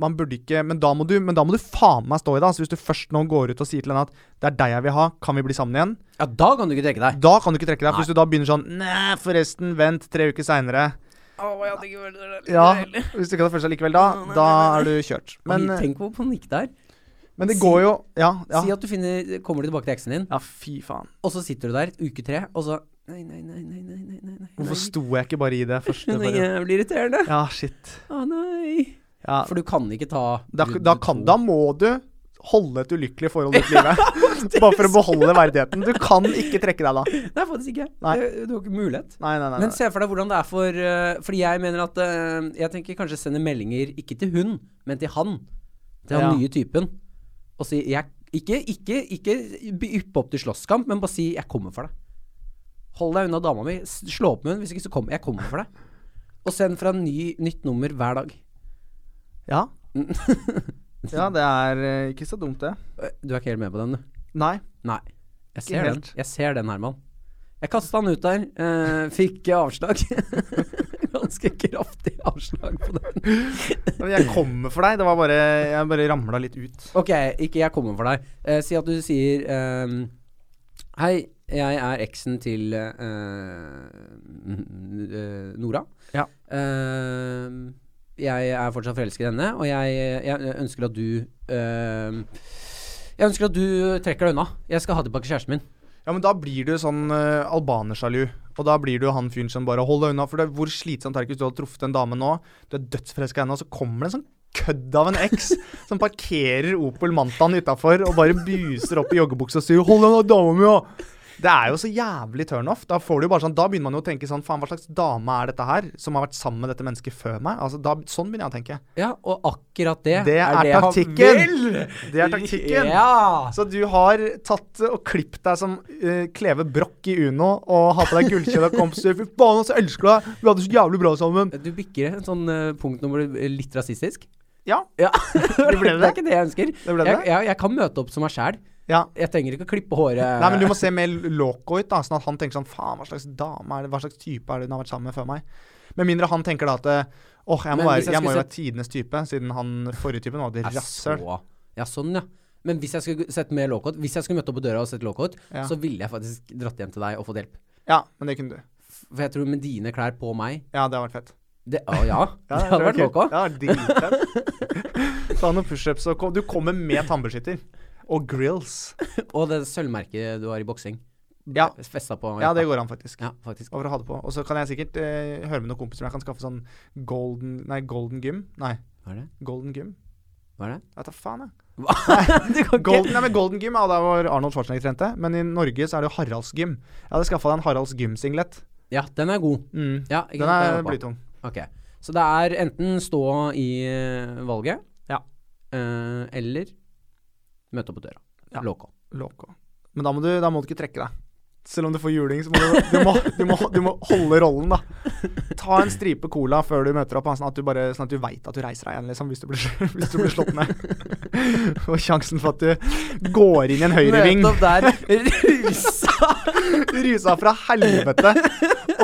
S2: man burde ikke Men da må du, men da må du faen meg stå i det. Altså, hvis du først nå går ut og sier til henne at 'det er deg jeg vil ha, kan vi bli sammen igjen',
S1: Ja, da kan du ikke trekke deg.
S2: da kan du ikke trekke deg.
S1: Nei.
S2: For hvis du da begynner sånn 'nei, forresten, vent tre uker seinere'
S1: Å, jeg hadde ikke vært der.
S2: Ja, hvis du ikke hadde følt seg likevel da, da er du kjørt. Men,
S1: Men tenk hvor panikk det er.
S2: men det
S1: si-
S2: går jo Ja, ja.
S1: Si at du finner, kommer tilbake til eksen din.
S2: Ja, fy faen.
S1: Og så sitter du der uke tre, og så Nei, nei, nei, nei, nei, nei, nei, nei.
S2: Hvorfor
S1: nei.
S2: sto jeg ikke bare i det
S1: Det
S2: første?
S1: er
S2: Bare?
S1: jævlig irriterende.
S2: Ja, shit.
S1: Å nei.
S2: Ja,
S1: For du kan ikke ta
S2: Da,
S1: runde
S2: da,
S1: to.
S2: kan, da må du holde et ulykkelig forhold ut
S1: [laughs]
S2: livet. eh. Bare for å beholde verdigheten. Du kan ikke trekke deg da. Nei,
S1: Nei, faktisk ikke.
S2: Nei.
S1: Det- Du har ikke mulighet.
S2: nei, nei.
S1: Men
S2: nei.
S1: se for deg hvordan det er for eh, Fordi jeg mener at eh, Jeg tenker kanskje sende meldinger ikke til hun, men til han. Til den
S2: Ja.
S1: nye typen. Og si jeg, Ikke, ikke, ikke by- yppe opp til slåsskamp, men bare si 'jeg kommer for deg'. Hold deg unna dama mi. s- Slå opp med henne. Hvis ikke, så kommer jeg kommer for deg. Og send fra ny, nytt nummer hver dag. [laughs]
S2: Ja. ja, det er eh, ikke så dumt, det.
S1: Øh, Du er ikke helt med på den, du?
S2: Nei.
S1: [laughs] Nei. Jeg ser den.
S2: helt.
S1: Jeg ser den, Herman. Jeg kasta han ut der. eh, fikk avslag. [laughs] Ganske kraftig avslag på den.
S2: Men Jeg kommer for deg. Det var bare Jeg bare ramla litt ut.
S1: Ok, ikke jeg kommer for deg. Eh, si at du sier ehm, Hei, jeg er eksen til eh, eh, Nora.
S2: Ja.
S1: Ehm, jeg er fortsatt forelsket i henne, og jeg, jeg ønsker at du eh, Jeg ønsker at du trekker deg unna. Jeg skal ha tilbake kjæresten min.
S2: Ja, men da blir du sånn uh, albanersjalu. Og da blir du han fyren som bare holder deg unna. For det, hvor slitsomt er det ikke hvis du har truffet en dame nå, du er dødsforelska i henne, og så kommer det en sånn kødd av en eks [laughs] som parkerer Opel Mantaen utafor og bare buser opp i joggebuksa og sier 'hold deg unna dama mi', da! Det er jo så jævlig turnoff. Da får du jo bare sånn, da begynner man jo å tenke sånn faen, hva slags dame er dette her, som har vært sammen med dette mennesket før meg? Altså, da, sånn begynner jeg å tenke.
S1: Ja, og akkurat det,
S2: Det er
S1: jeg har-
S2: taktikken.
S1: Vel!
S2: Det er taktikken.
S1: Ja!
S2: Så du har tatt og klippet deg som eh, Kleve Broch i Uno og hatt på deg gullkjede og kompiser. Fy faen, altså, jeg elsker deg! Vi hadde det så jævlig bra sammen.
S1: Du bikker en sånn eh, punkt når du blir litt rasistisk.
S2: Ja,
S1: Ja.
S2: det
S1: [laughs]
S2: ble
S1: Det
S2: det.
S1: er ikke det jeg ønsker.
S2: Det ble det.
S1: Jeg, jeg, jeg kan møte opp som meg sjæl.
S2: Ja.
S1: Jeg trenger ikke å klippe håret.
S2: Nei, men du må se mer loco ut, da, sånn at han tenker sånn Faen, hva slags dame er det? Hva slags type er det hun har vært sammen med før meg? Med mindre han tenker da at eh, Åh, jeg må,
S1: Men
S2: være,
S1: hvis jeg
S2: jeg må jo
S1: skulle
S2: være tidenes type, siden han forrige typen var det
S1: Jeg
S2: rasshøl.
S1: så- Ja, sånn, ja. Men hvis jeg skulle sett mer lowcut, hvis jeg skulle møtt opp på døra og sett lowcut,
S2: Ja.
S1: så ville jeg faktisk dratt hjem til deg og fått hjelp.
S2: Ja, men det kunne du.
S1: For jeg tror med dine klær på meg
S2: Ja, det hadde vært fett.
S1: det,
S2: [laughs]
S1: Å ja,
S2: Ja,
S1: det hadde
S2: var
S1: vært
S2: kult.
S1: lowcut.
S2: Det hadde vært dritfett. [laughs] Ta noen pushups og kom. Du kommer med tannbeskytter. Og grills.
S1: Og det sølvmerket du har i boksing.
S2: Ja.
S1: Festa på.
S2: ja, det går an, faktisk.
S1: Ja, faktisk.
S2: Over å ha det på. Og så kan jeg sikkert eh, høre med noen kompiser om jeg kan skaffe sånn golden Nei, golden gym. Nei,
S1: Hva er det?
S2: golden gym.
S1: Hva er det?
S2: Jeg tar faen, jeg. [laughs]
S1: Du kan ikke
S2: Golden, nei, men golden gym er jo der hvor Arnold Schwarzenegger trente. Men i Norge så er det jo Haralds gym. Jeg hadde skaffa deg en Haralds gym-singlet.
S1: Ja, den er god.
S2: Mm.
S1: Ja, ikke
S2: Den
S1: sant,
S2: er
S1: den er på.
S2: blytung.
S1: Ok. Så det er enten stå i eh, valget,
S2: Ja.
S1: eh, eller møte opp på døra.
S2: Ja.
S1: Lowcut.
S2: Loco. Men da må, du, da må du ikke trekke deg. Selv om du får juling, så må du, du, må, du, må, du må holde rollen, da. Ta en stripe cola før du møter opp, sånn at du, bare- sånn at du veit at du reiser deg igjen, liksom, hvis du blir, [laughs] hvis du blir slått ned. Og sjansen for at du går inn i en høyreving,
S1: Møte opp
S2: [laughs]
S1: der. Rusa!
S2: rusa fra helvete,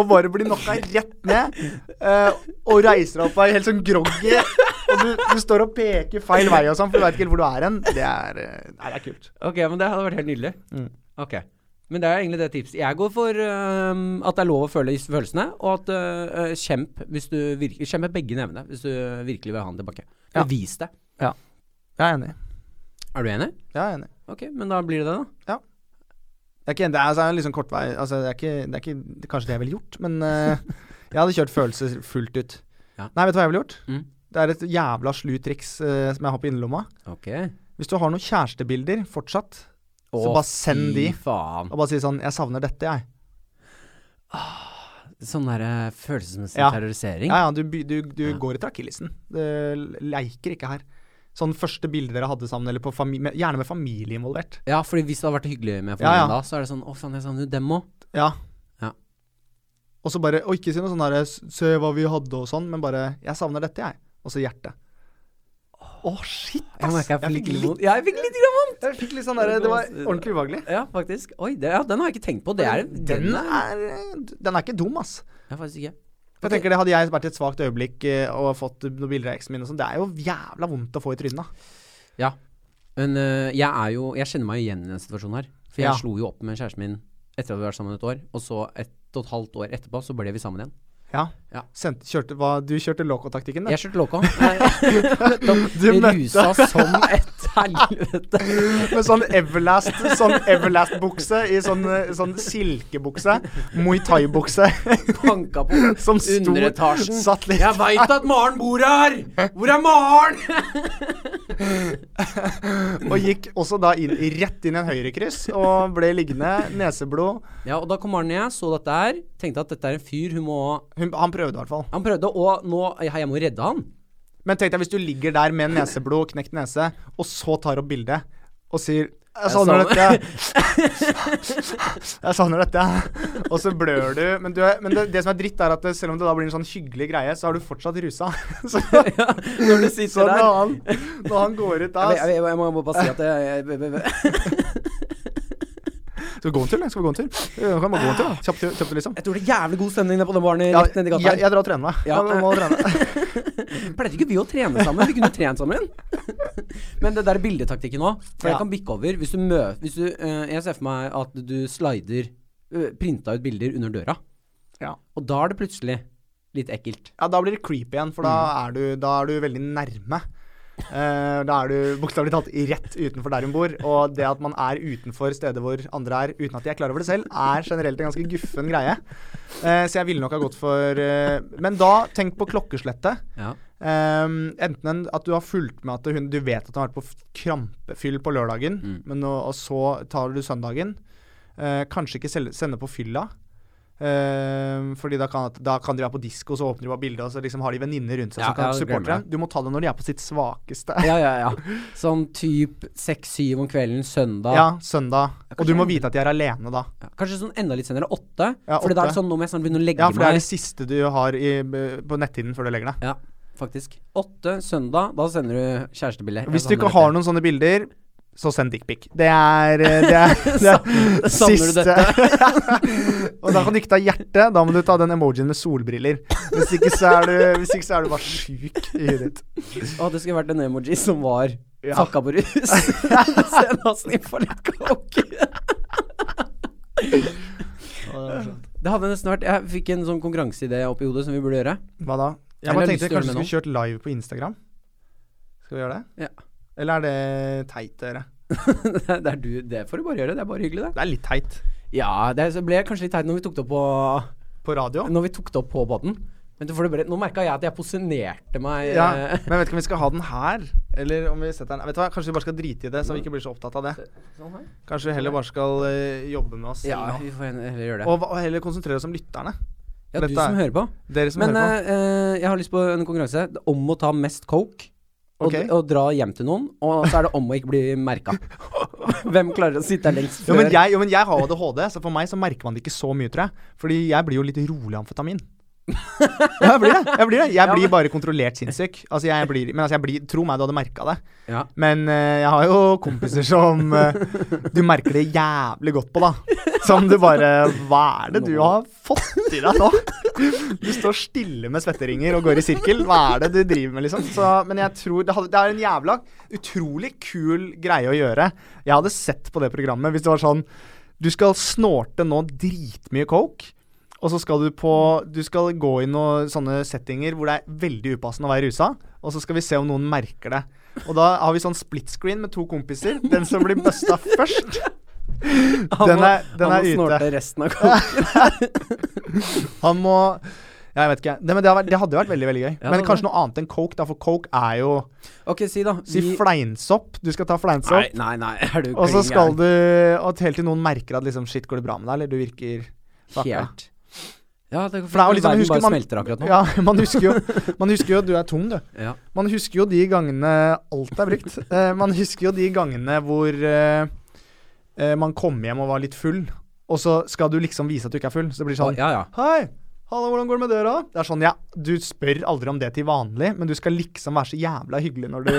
S2: og bare blir knocka rett ned, eh, og reiser deg opp deg helt sånn groggy, og du, du står og peker feil vei og sånn, for du veit ikke helt hvor du er hen, det er, eh, nei, det er kult.
S1: Ok, men det hadde vært helt nydelig.
S2: Mm.
S1: Ok. Men det er egentlig det tipset. Jeg går for øhm, at det er lov å føle is- følelsene, og at øh, øh, kjemp, hvis du virkelig, kjemp med begge nevene hvis du virkelig vil ha den tilbake.
S2: Ja.
S1: Bevis det.
S2: Jeg er enig.
S1: Er du enig?
S2: Jeg er enig.
S1: Ok, men da blir det det, da.
S2: Det er ikke, det er, altså, det er liksom kort vei altså, det, er ikke, det er ikke det er kanskje det jeg ville gjort, men eh, jeg hadde kjørt følelser fullt ut.
S1: Ja.
S2: Nei, vet du hva jeg ville gjort?
S1: Mm.
S2: Det er et jævla slut triks eh, som jeg har på innerlomma.
S1: Ok.
S2: Hvis du har noen kjærestebilder fortsatt, så
S1: Å,
S2: bare send de.
S1: Fy faen.
S2: Og bare si sånn 'Jeg savner dette, jeg'.
S1: Sånn der øh, følelsesmessig
S2: Ja.
S1: terrorisering.
S2: Ja, ja, du, by- du, du
S1: Ja.
S2: går etter akillesen. Det leiker ikke her. Sånn første bilde dere hadde sammen, eller på fami med, gjerne med familie involvert.
S1: Ja, fordi hvis det hadde vært hyggelig med familien
S2: Ja, ja.
S1: da, så er det sånn Å, faen, jeg savner jo dem òg.
S2: Ja.
S1: Ja.
S2: Og så bare, og ikke si noe sånn derre 'se hva vi hadde' og sånn, men bare 'jeg savner dette, jeg'. Og så hjerte. Å, shit,
S1: Jeg
S2: ass!
S1: merker jeg fikk litt vondt.
S2: litt,
S1: Ja, jeg fikk litt grann vondt.
S2: jeg fikk litt sånn derre Det var ordentlig ubehagelig.
S1: Ja, faktisk. Oi, det, ja, den har jeg ikke tenkt på. Det er
S2: Den er, den er ikke dum, ass.
S1: Ja, faktisk ikke.
S2: For jeg tenker det Hadde jeg vært i et svakt øyeblikk eh, og fått noen bilder av eksen min og sånn, det er jo jævla vondt å få i trynet.
S1: Ja. Men øh, jeg er jo Jeg kjenner meg jo igjen i den situasjonen her. For jeg
S2: Ja.
S1: slo jo opp med kjæresten min etter at vi hadde vært sammen et år. Og så ett og et halvt år etterpå så ble vi sammen igjen.
S2: Ja.
S1: Ja.
S2: Sendte- kjørte, hva, du kjørte loco-taktikken, da.
S1: Jeg kjørte loco. Du rusa som et helvete.
S2: [laughs] Med sånn Everlast Sånn Everlast-bukse i sånn, eh, sånn silkebukse. Muay thai-bukse
S1: Banka på [laughs]
S2: som sto
S1: underetasjen.
S2: Satt litt
S1: Jeg veit at Maren bor her! Hvor er Maren?
S2: Og gikk også da inn, rett inn i en høyrekryss og ble liggende. Neseblod.
S1: [laughs] Ja, og da kom Maren ned, så dette her. Tenkte at dette er en fyr hun må
S2: Hun, han prøvde i hvert fall.
S1: Han prøvde, og nå Jeg jeg må redde han.
S2: Men tenk deg hvis du ligger der med neseblod, knekt nese, og så tar opp bildet og sier jeg savner
S1: savner-
S2: dette. [laughs] Jeg savner dette. Og så blør du. Men, du er, men det, det som er dritt, er at det, selv om det da blir en sånn hyggelig greie, så er du fortsatt rusa. [laughs] Så,
S1: Ja, når du sitter
S2: så når,
S1: der.
S2: han, når han går ut da
S1: Jeg, jeg, jeg, jeg må bare si at jeg, jeg, jeg,
S2: Skal vi gå en tur, eller? Skal vi gå en tur? Ja, Kan bare gå en tur, da. Kjapt, kjapt, liksom.
S1: Jeg tror det er jævlig god stemning der på den baren
S2: Ja,
S1: rett nedi
S2: jeg,
S1: gata. her.
S2: jeg drar og trener meg.
S1: Ja.
S2: Jeg må trene.
S1: Pleide ikke vi å trene sammen? Vi kunne trent
S2: [laughs]
S1: sammen. Men det der er bildetaktikken òg. For
S2: Ja.
S1: jeg kan bikke over. Hvis du mø... Hvis du, eh, jeg ser for meg at du slider eh, printa ut bilder under døra.
S2: Ja.
S1: Og da er det plutselig litt ekkelt.
S2: Ja, da blir det creepy igjen, for da, er, du, da er du veldig nærme. Eh, da er du bokstavelig talt rett utenfor der hun bor. Og det at man er utenfor steder hvor andre er, uten at de er klar over det selv, er generelt en ganske guffen greie. Eh, så jeg ville nok ha gått for eh, Men da, tenk på klokkeslettet.
S1: Ja.
S2: Ehm, enten en, at du har fulgt med at hun, du vet at hun har vært på f- krampefyll på lørdagen,
S1: Mm.
S2: men nå, og så tar du søndagen. Eh, kanskje ikke sel- sende på fylla. Uh, fordi da kan, at- da kan de være på disko, så åpner de bare bildet, og så liksom har de venninner rundt seg
S1: Ja,
S2: som kan
S1: ja, det
S2: supporte
S1: glemmer jeg.
S2: dem. Du må ta det når de er på sitt svakeste.
S1: ja, ja, ja. Sånn typ seks-syv om kvelden, søndag.
S2: [laughs] ja, søndag. Og du
S1: kanskje-
S2: må vite at de er alene da.
S1: Ja, Kanskje sånn enda litt senere, åtte.
S2: Ja,
S1: Fordi da er det
S2: åtte.
S1: sånn, nå må jeg snart begynne å legge
S2: Ja, for det er
S1: meg.
S2: det siste du har i, b- på netthinnen før du legger deg.
S1: Ja, faktisk. Åtte søndag, da sender du sånn kjærestebilde.
S2: Hvis du ikke har
S1: [laughs]
S2: noen sånne bilder, så send dickpic. Det er eh, Det
S1: [laughs]
S2: er, det er
S1: Savner Sånn- du
S2: [laughs] og da kan du ikke ta hjerte. Da må du ta den emojien med solbriller. Hvis ikke så er du, hvis ikke så er du bare sjuk i huet ditt.
S1: Å, det skulle vært en emoji som var
S2: Ja.
S1: fucka på rus. [laughs] Send oss sniffa litt coke. Det hadde nesten vært Jeg fikk en sånn konkurranseidé opp i hodet som vi burde gjøre. [laughs]
S2: Hva da?
S1: Eller
S2: Jeg bare
S1: har lyst
S2: tenkte
S1: til å gjøre
S2: kanskje vi
S1: det
S2: skulle kjørt live på Instagram. Skal vi gjøre det?
S1: Ja.
S2: Eller er det teit, dere?
S1: det, er du, det får du bare gjøre. Det er bare hyggelig, det.
S2: Det er litt teit.
S1: Ja, det så ble kanskje litt teit når vi tok det opp på
S2: På radio?
S1: Når vi tok det opp på båten. Men du får det bare, nå merka jeg at jeg posisjonerte meg
S2: Ja,
S1: [laughs] eh,
S2: men jeg vet ikke om vi skal ha den her, eller om vi setter den Vet du hva, kanskje vi bare skal drite i det, så vi ikke blir så opptatt av det.
S1: sånn her.
S2: Kanskje vi heller bare skal eh, jobbe med oss
S1: Ja,
S2: selv nå.
S1: vi får heller gjøre det.
S2: Og, hva- og heller konsentrere oss om lytterne.
S1: Ja,
S2: dette
S1: du som
S2: er-
S1: hører på.
S2: Dere som
S1: Men
S2: hører på.
S1: eh, eh, jeg har lyst på en konkurranse om å ta mest coke. Og,
S2: Ok.
S1: og dra hjem til noen, og så er det om å ikke bli merka.
S2: [laughs]
S1: Hvem klarer å sitte her lengst
S2: Jo
S1: før?
S2: men, jeg, jo, men jeg har ADHD, så for meg så merker man det ikke så mye, tror jeg. Fordi jeg blir jo litt rolig amfetamin. ja, jeg blir det. Jeg blir, det. Jeg blir bare kontrollert sinnssyk. Altså, jeg blir, men altså, jeg blir, tro meg, du hadde merka det.
S1: Ja.
S2: Men eh, jeg har jo kompiser som eh, du merker det jævlig godt på, da. Som du bare Hva er det du har fått i deg nå? Du står stille med svetteringer og går i sirkel. Hva er det du driver med, liksom? Så, men jeg tror det, hadde, det er en jævla utrolig kul greie å gjøre. Jeg hadde sett på det programmet hvis det var sånn Du skal snorte nå dritmye coke. Og så skal du på Du skal gå i noen sånne settinger hvor det er veldig upassende å være rusa. Og så skal vi se om noen merker det. Og da har vi sånn split screen med to kompiser. Den som blir busta først,
S1: Han
S2: den
S1: må-
S2: er,
S1: han
S2: den er
S1: må
S2: ute.
S1: snorte resten av
S2: [laughs]
S1: coke.
S2: Han må ja, Jeg vet ikke. Det, men det, har vært, det hadde jo vært veldig veldig gøy.
S1: Ja,
S2: men
S1: det hadde
S2: kanskje noe annet enn coke, da, for coke er jo
S1: Ok, si da.
S2: Si
S1: vi-
S2: fleinsopp. Du skal ta fleinsopp.
S1: Nei, nei, nei, er du
S2: Og så
S1: klin
S2: skal
S1: gæren?
S2: du Og helt til noen merker at liksom Shit, går det bra med deg, eller du virker fucka.
S1: Helt. Ja, det,
S2: For det er jo liksom
S1: Verden
S2: husker
S1: bare
S2: man,
S1: smelter akkurat nå.
S2: Ja, [laughs] man husker jo Man husker jo Du er tom, du.
S1: Ja.
S2: Man husker jo de gangene alt
S1: [laughs]
S2: er brukt. Eh, man husker jo de gangene hvor eh, eh, man kom hjem og var litt full, og så skal du liksom vise at du ikke er full. Så det blir
S1: Å,
S2: sånn
S1: ja, ja.
S2: Hei! Hallo, hvordan går det med dere? da?» Det er sånn, ja, Du spør aldri om det til vanlig, men du skal liksom være så jævla hyggelig
S1: [laughs]
S2: når du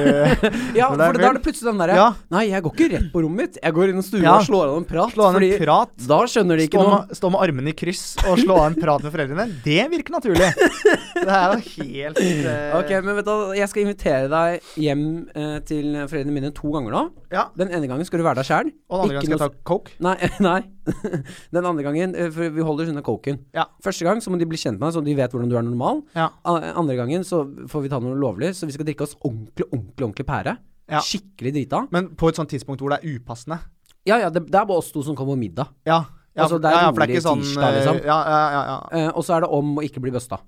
S1: ja, for
S2: Når det er
S1: da er
S2: vel-
S1: det plutselig den derre
S2: Ja.
S1: Nei, jeg går ikke rett på rommet mitt. Jeg går innom stua
S2: Ja.
S1: og slår av en prat.
S2: slår an en
S1: fordi
S2: prat.
S1: da skjønner de ikke
S2: Stå
S1: noe.
S2: med, stå med armene i kryss og slå av en prat med foreldrene. Det virker naturlig. Det er jo helt eh,
S1: Ok, men vet du, hva, jeg skal invitere deg hjem eh, til foreldrene mine to ganger nå.
S2: Ja.
S1: Den ene gangen skal du være der sjæl.
S2: Og den andre gangen skal jeg ta coke.
S1: Nei. [laughs] nei. Den andre gangen eh, For vi holder unna coken.
S2: Ja.
S1: Første gang så må de bli kjent med deg, så de vet hvordan du er normal.
S2: Ja.
S1: A- Andre gangen så får vi ta noe lovlig, så vi skal drikke oss ordentlig, ordentlig ordentlig pære.
S2: Ja.
S1: Skikkelig drita.
S2: Men på et sånt tidspunkt hvor det er upassende.
S1: Ja ja, det, det er bare oss to som kommer på middag.
S2: Ja. ja
S1: Altså, det er
S2: ja, ja, for
S1: rolig tirsdag,
S2: eh,
S1: liksom.
S2: Ja, ja, ja, ja.
S1: Eh, og så er det om å ikke bli busta.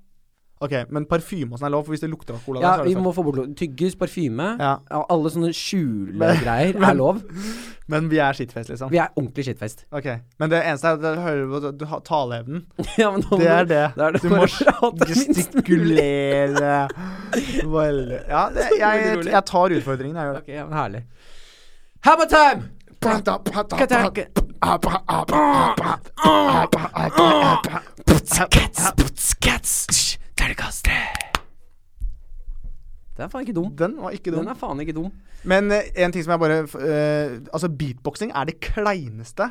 S2: Ok, men parfyme og sånn er lov, for hvis det lukter av cola
S1: Ja,
S2: der, så er
S1: vi
S2: det
S1: må få bort lo- tyggis, parfyme.
S2: Ja.
S1: Ja, alle sånne
S2: [laughs]
S1: skjulegreier er lov.
S2: sant. Men vi er shitface, liksom.
S1: Vi er ordentlig shitfest.
S2: Ok, Men det eneste er at jeg hører på at du har taleevnen.
S1: Ja, men nå må
S2: Det er
S1: du-
S2: det.
S1: Da er det
S2: Du
S1: bare
S2: må
S1: å prate minst mulig.
S2: gestikulere. Veldig- Ja, det, jeg,
S1: Veldig rolig.
S2: jeg tar utfordringen, jeg gjør det.
S1: Ok, ja, men herlig. Hammer time! Terningkast tre. Den er faen ikke dum.
S2: Den var ikke dum.
S1: Den er faen ikke dum.
S2: Men eh, en ting som jeg bare eh, Altså, beatboxing er det kleineste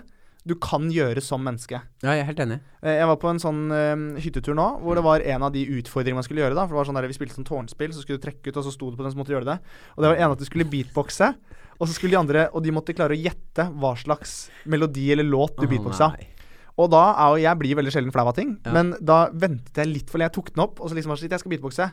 S2: du kan gjøre som menneske.
S1: Ja, jeg er helt enig.
S2: Eh, jeg var på en sånn eh, hyttetur nå hvor
S1: Mm.
S2: det var en av de utfordringene man skulle gjøre. da For det var sånn der, Vi spilte sånn tårnspill, så skulle du trekke ut, og så sto det på den som måtte gjøre det. Og det var en at du skulle beatboxe, og så skulle de andre Og de måtte klare å gjette hva slags melodi eller låt du
S1: Å,
S2: beatboxa.
S1: nei.
S2: Og da er jo jeg blir veldig sjelden flau av ting,
S1: Ja.
S2: men da ventet jeg litt for lenge. Jeg tok den opp, og så liksom var det sånn, shit, jeg skal beatboxe.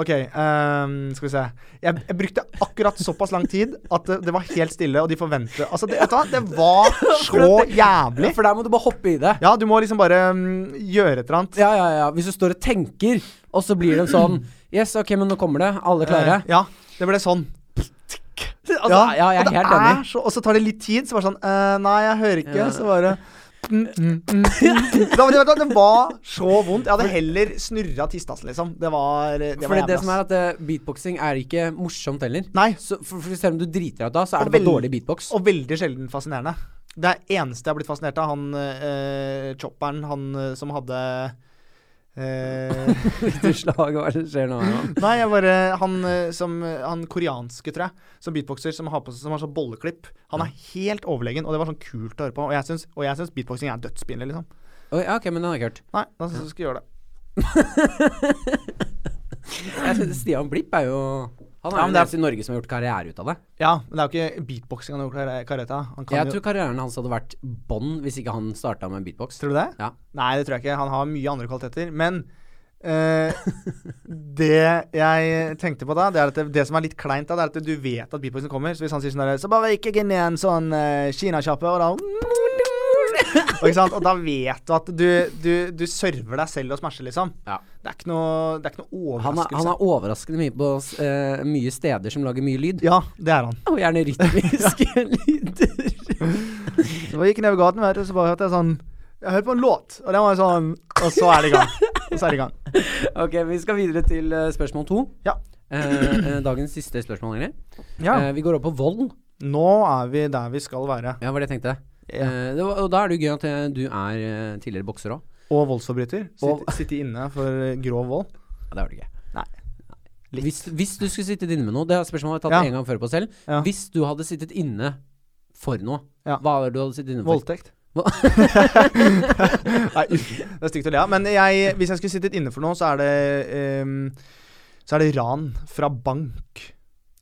S2: Ok, ehm, skal vi se. Jeg, jeg brukte akkurat såpass lang tid at det, det var helt stille, og de forventet Altså, det, vet
S1: [laughs]
S2: du hva, det var så jævlig.
S1: For der må du bare hoppe i det.
S2: Ja, du må liksom bare mm, gjøre et eller annet.
S1: Ja, ja, ja. Hvis du står og tenker, og så blir det en sånn Yes, ok, men nå kommer det. Alle klare?
S2: Eh, ja, det ble sånn.
S1: Altså, ja, jeg
S2: og
S1: er
S2: det
S1: helt enig.
S2: er Så, og så tar det litt tid, så bare sånn eh, Nei, jeg hører ikke.
S1: Ja.
S2: Så bare mm, mm, mm,
S1: [laughs]
S2: mm. Da, men, vet du hva, Det var så vondt. Jeg hadde heller snurra tistasen, liksom. Det var, det var
S1: For det,
S2: jævlig,
S1: det som
S2: ass.
S1: er at eh, beatboxing er ikke morsomt heller.
S2: Nei,
S1: Så, for, for selv om du driter deg ut da, så er
S2: Og
S1: det bare
S2: vel-
S1: dårlig beatbox.
S2: og veldig sjelden fascinerende. Det er eneste jeg har blitt fascinert av, han eh, chopperen, han eh, som hadde eh, [laughs]
S1: Hvilket slag hva er det som skjer nå? Herman?
S2: Nei, jeg bare han, eh, som, eh, han koreanske, tror jeg, som beatboxer, som har på seg Som har sånn bolleklipp. Han er helt overlegen, og det var sånn kult å høre på. Og jeg syns- og jeg syns beatboxing er dødsspinlig, liksom.
S1: Oi, ja, ok, men den har jeg ikke hørt.
S2: Nei, da skal jeg gjøre det.
S1: Jeg synes Stian Blipp er jo Han er
S2: Ja,
S1: jo
S2: men
S1: den
S2: det er-
S1: eneste i Norge som har gjort karriere ut av det.
S2: Ja, men det er jo ikke beatboxing han har gjort kar- karriere av. Han kan
S1: Jeg
S2: jo
S1: tror karrieren hans hadde vært bånn hvis ikke han starta med beatbox.
S2: Tror du det?
S1: Ja.
S2: Nei, det tror jeg ikke. Han har mye andre kvaliteter. Men eh, det jeg tenkte på da, det er at det, det som er litt kleint da, det er at du vet at beatboxen kommer. Så hvis han sier sånn der, Så bare ikke inn i en sånn uh, kinakjappe, og da og, ikke sant? og da vet du at du, du, du server deg selv og smasher, liksom.
S1: Ja.
S2: Det er ikke noe, det er ikke noe
S1: Han er,
S2: overraskelse.
S1: han er overraskende mye på eh, mye steder som lager mye lyd.
S2: Ja, det er han.
S1: Og
S2: [laughs]
S1: gjerne rytmiske [laughs] lyder.
S2: Så bare gikk jeg ned ved gaten, vet du, så bare hørte jeg sånn Jeg hørte på en låt, og den var sånn Og så er det i gang. Og så er det i gang.
S1: Ok, vi skal videre til eh, spørsmål to.
S2: Ja.
S1: Eh, eh, dagens siste spørsmål, egentlig. Eh, vi går opp på vold.
S2: Nå er vi der vi skal være.
S1: Ja, var det jeg tenkte.
S2: Ja.
S1: Eh, det var, og da er det jo gøy at eh, du er eh, tidligere bokser òg.
S2: Og voldsforbryter.
S1: Og-
S2: Sitt, sitte inne for eh, grov vold.
S1: Ja, det var det gøy.
S2: Nei. Litt.
S1: Hvis, hvis du skulle sittet inne med noe, det er et spørsmål jeg har tatt
S2: Ja.
S1: en gang før på selv.
S2: Ja.
S1: Hvis du hadde sittet inne for noe,
S2: Ja.
S1: hva hadde du hadde sittet inne for?
S2: Voldtekt.
S1: [laughs] Hva-
S2: [laughs] Nei, uff, det er stygt å le av. Men jeg, hvis jeg skulle sittet inne for noe, så er det ehm, Så er det ran fra bank.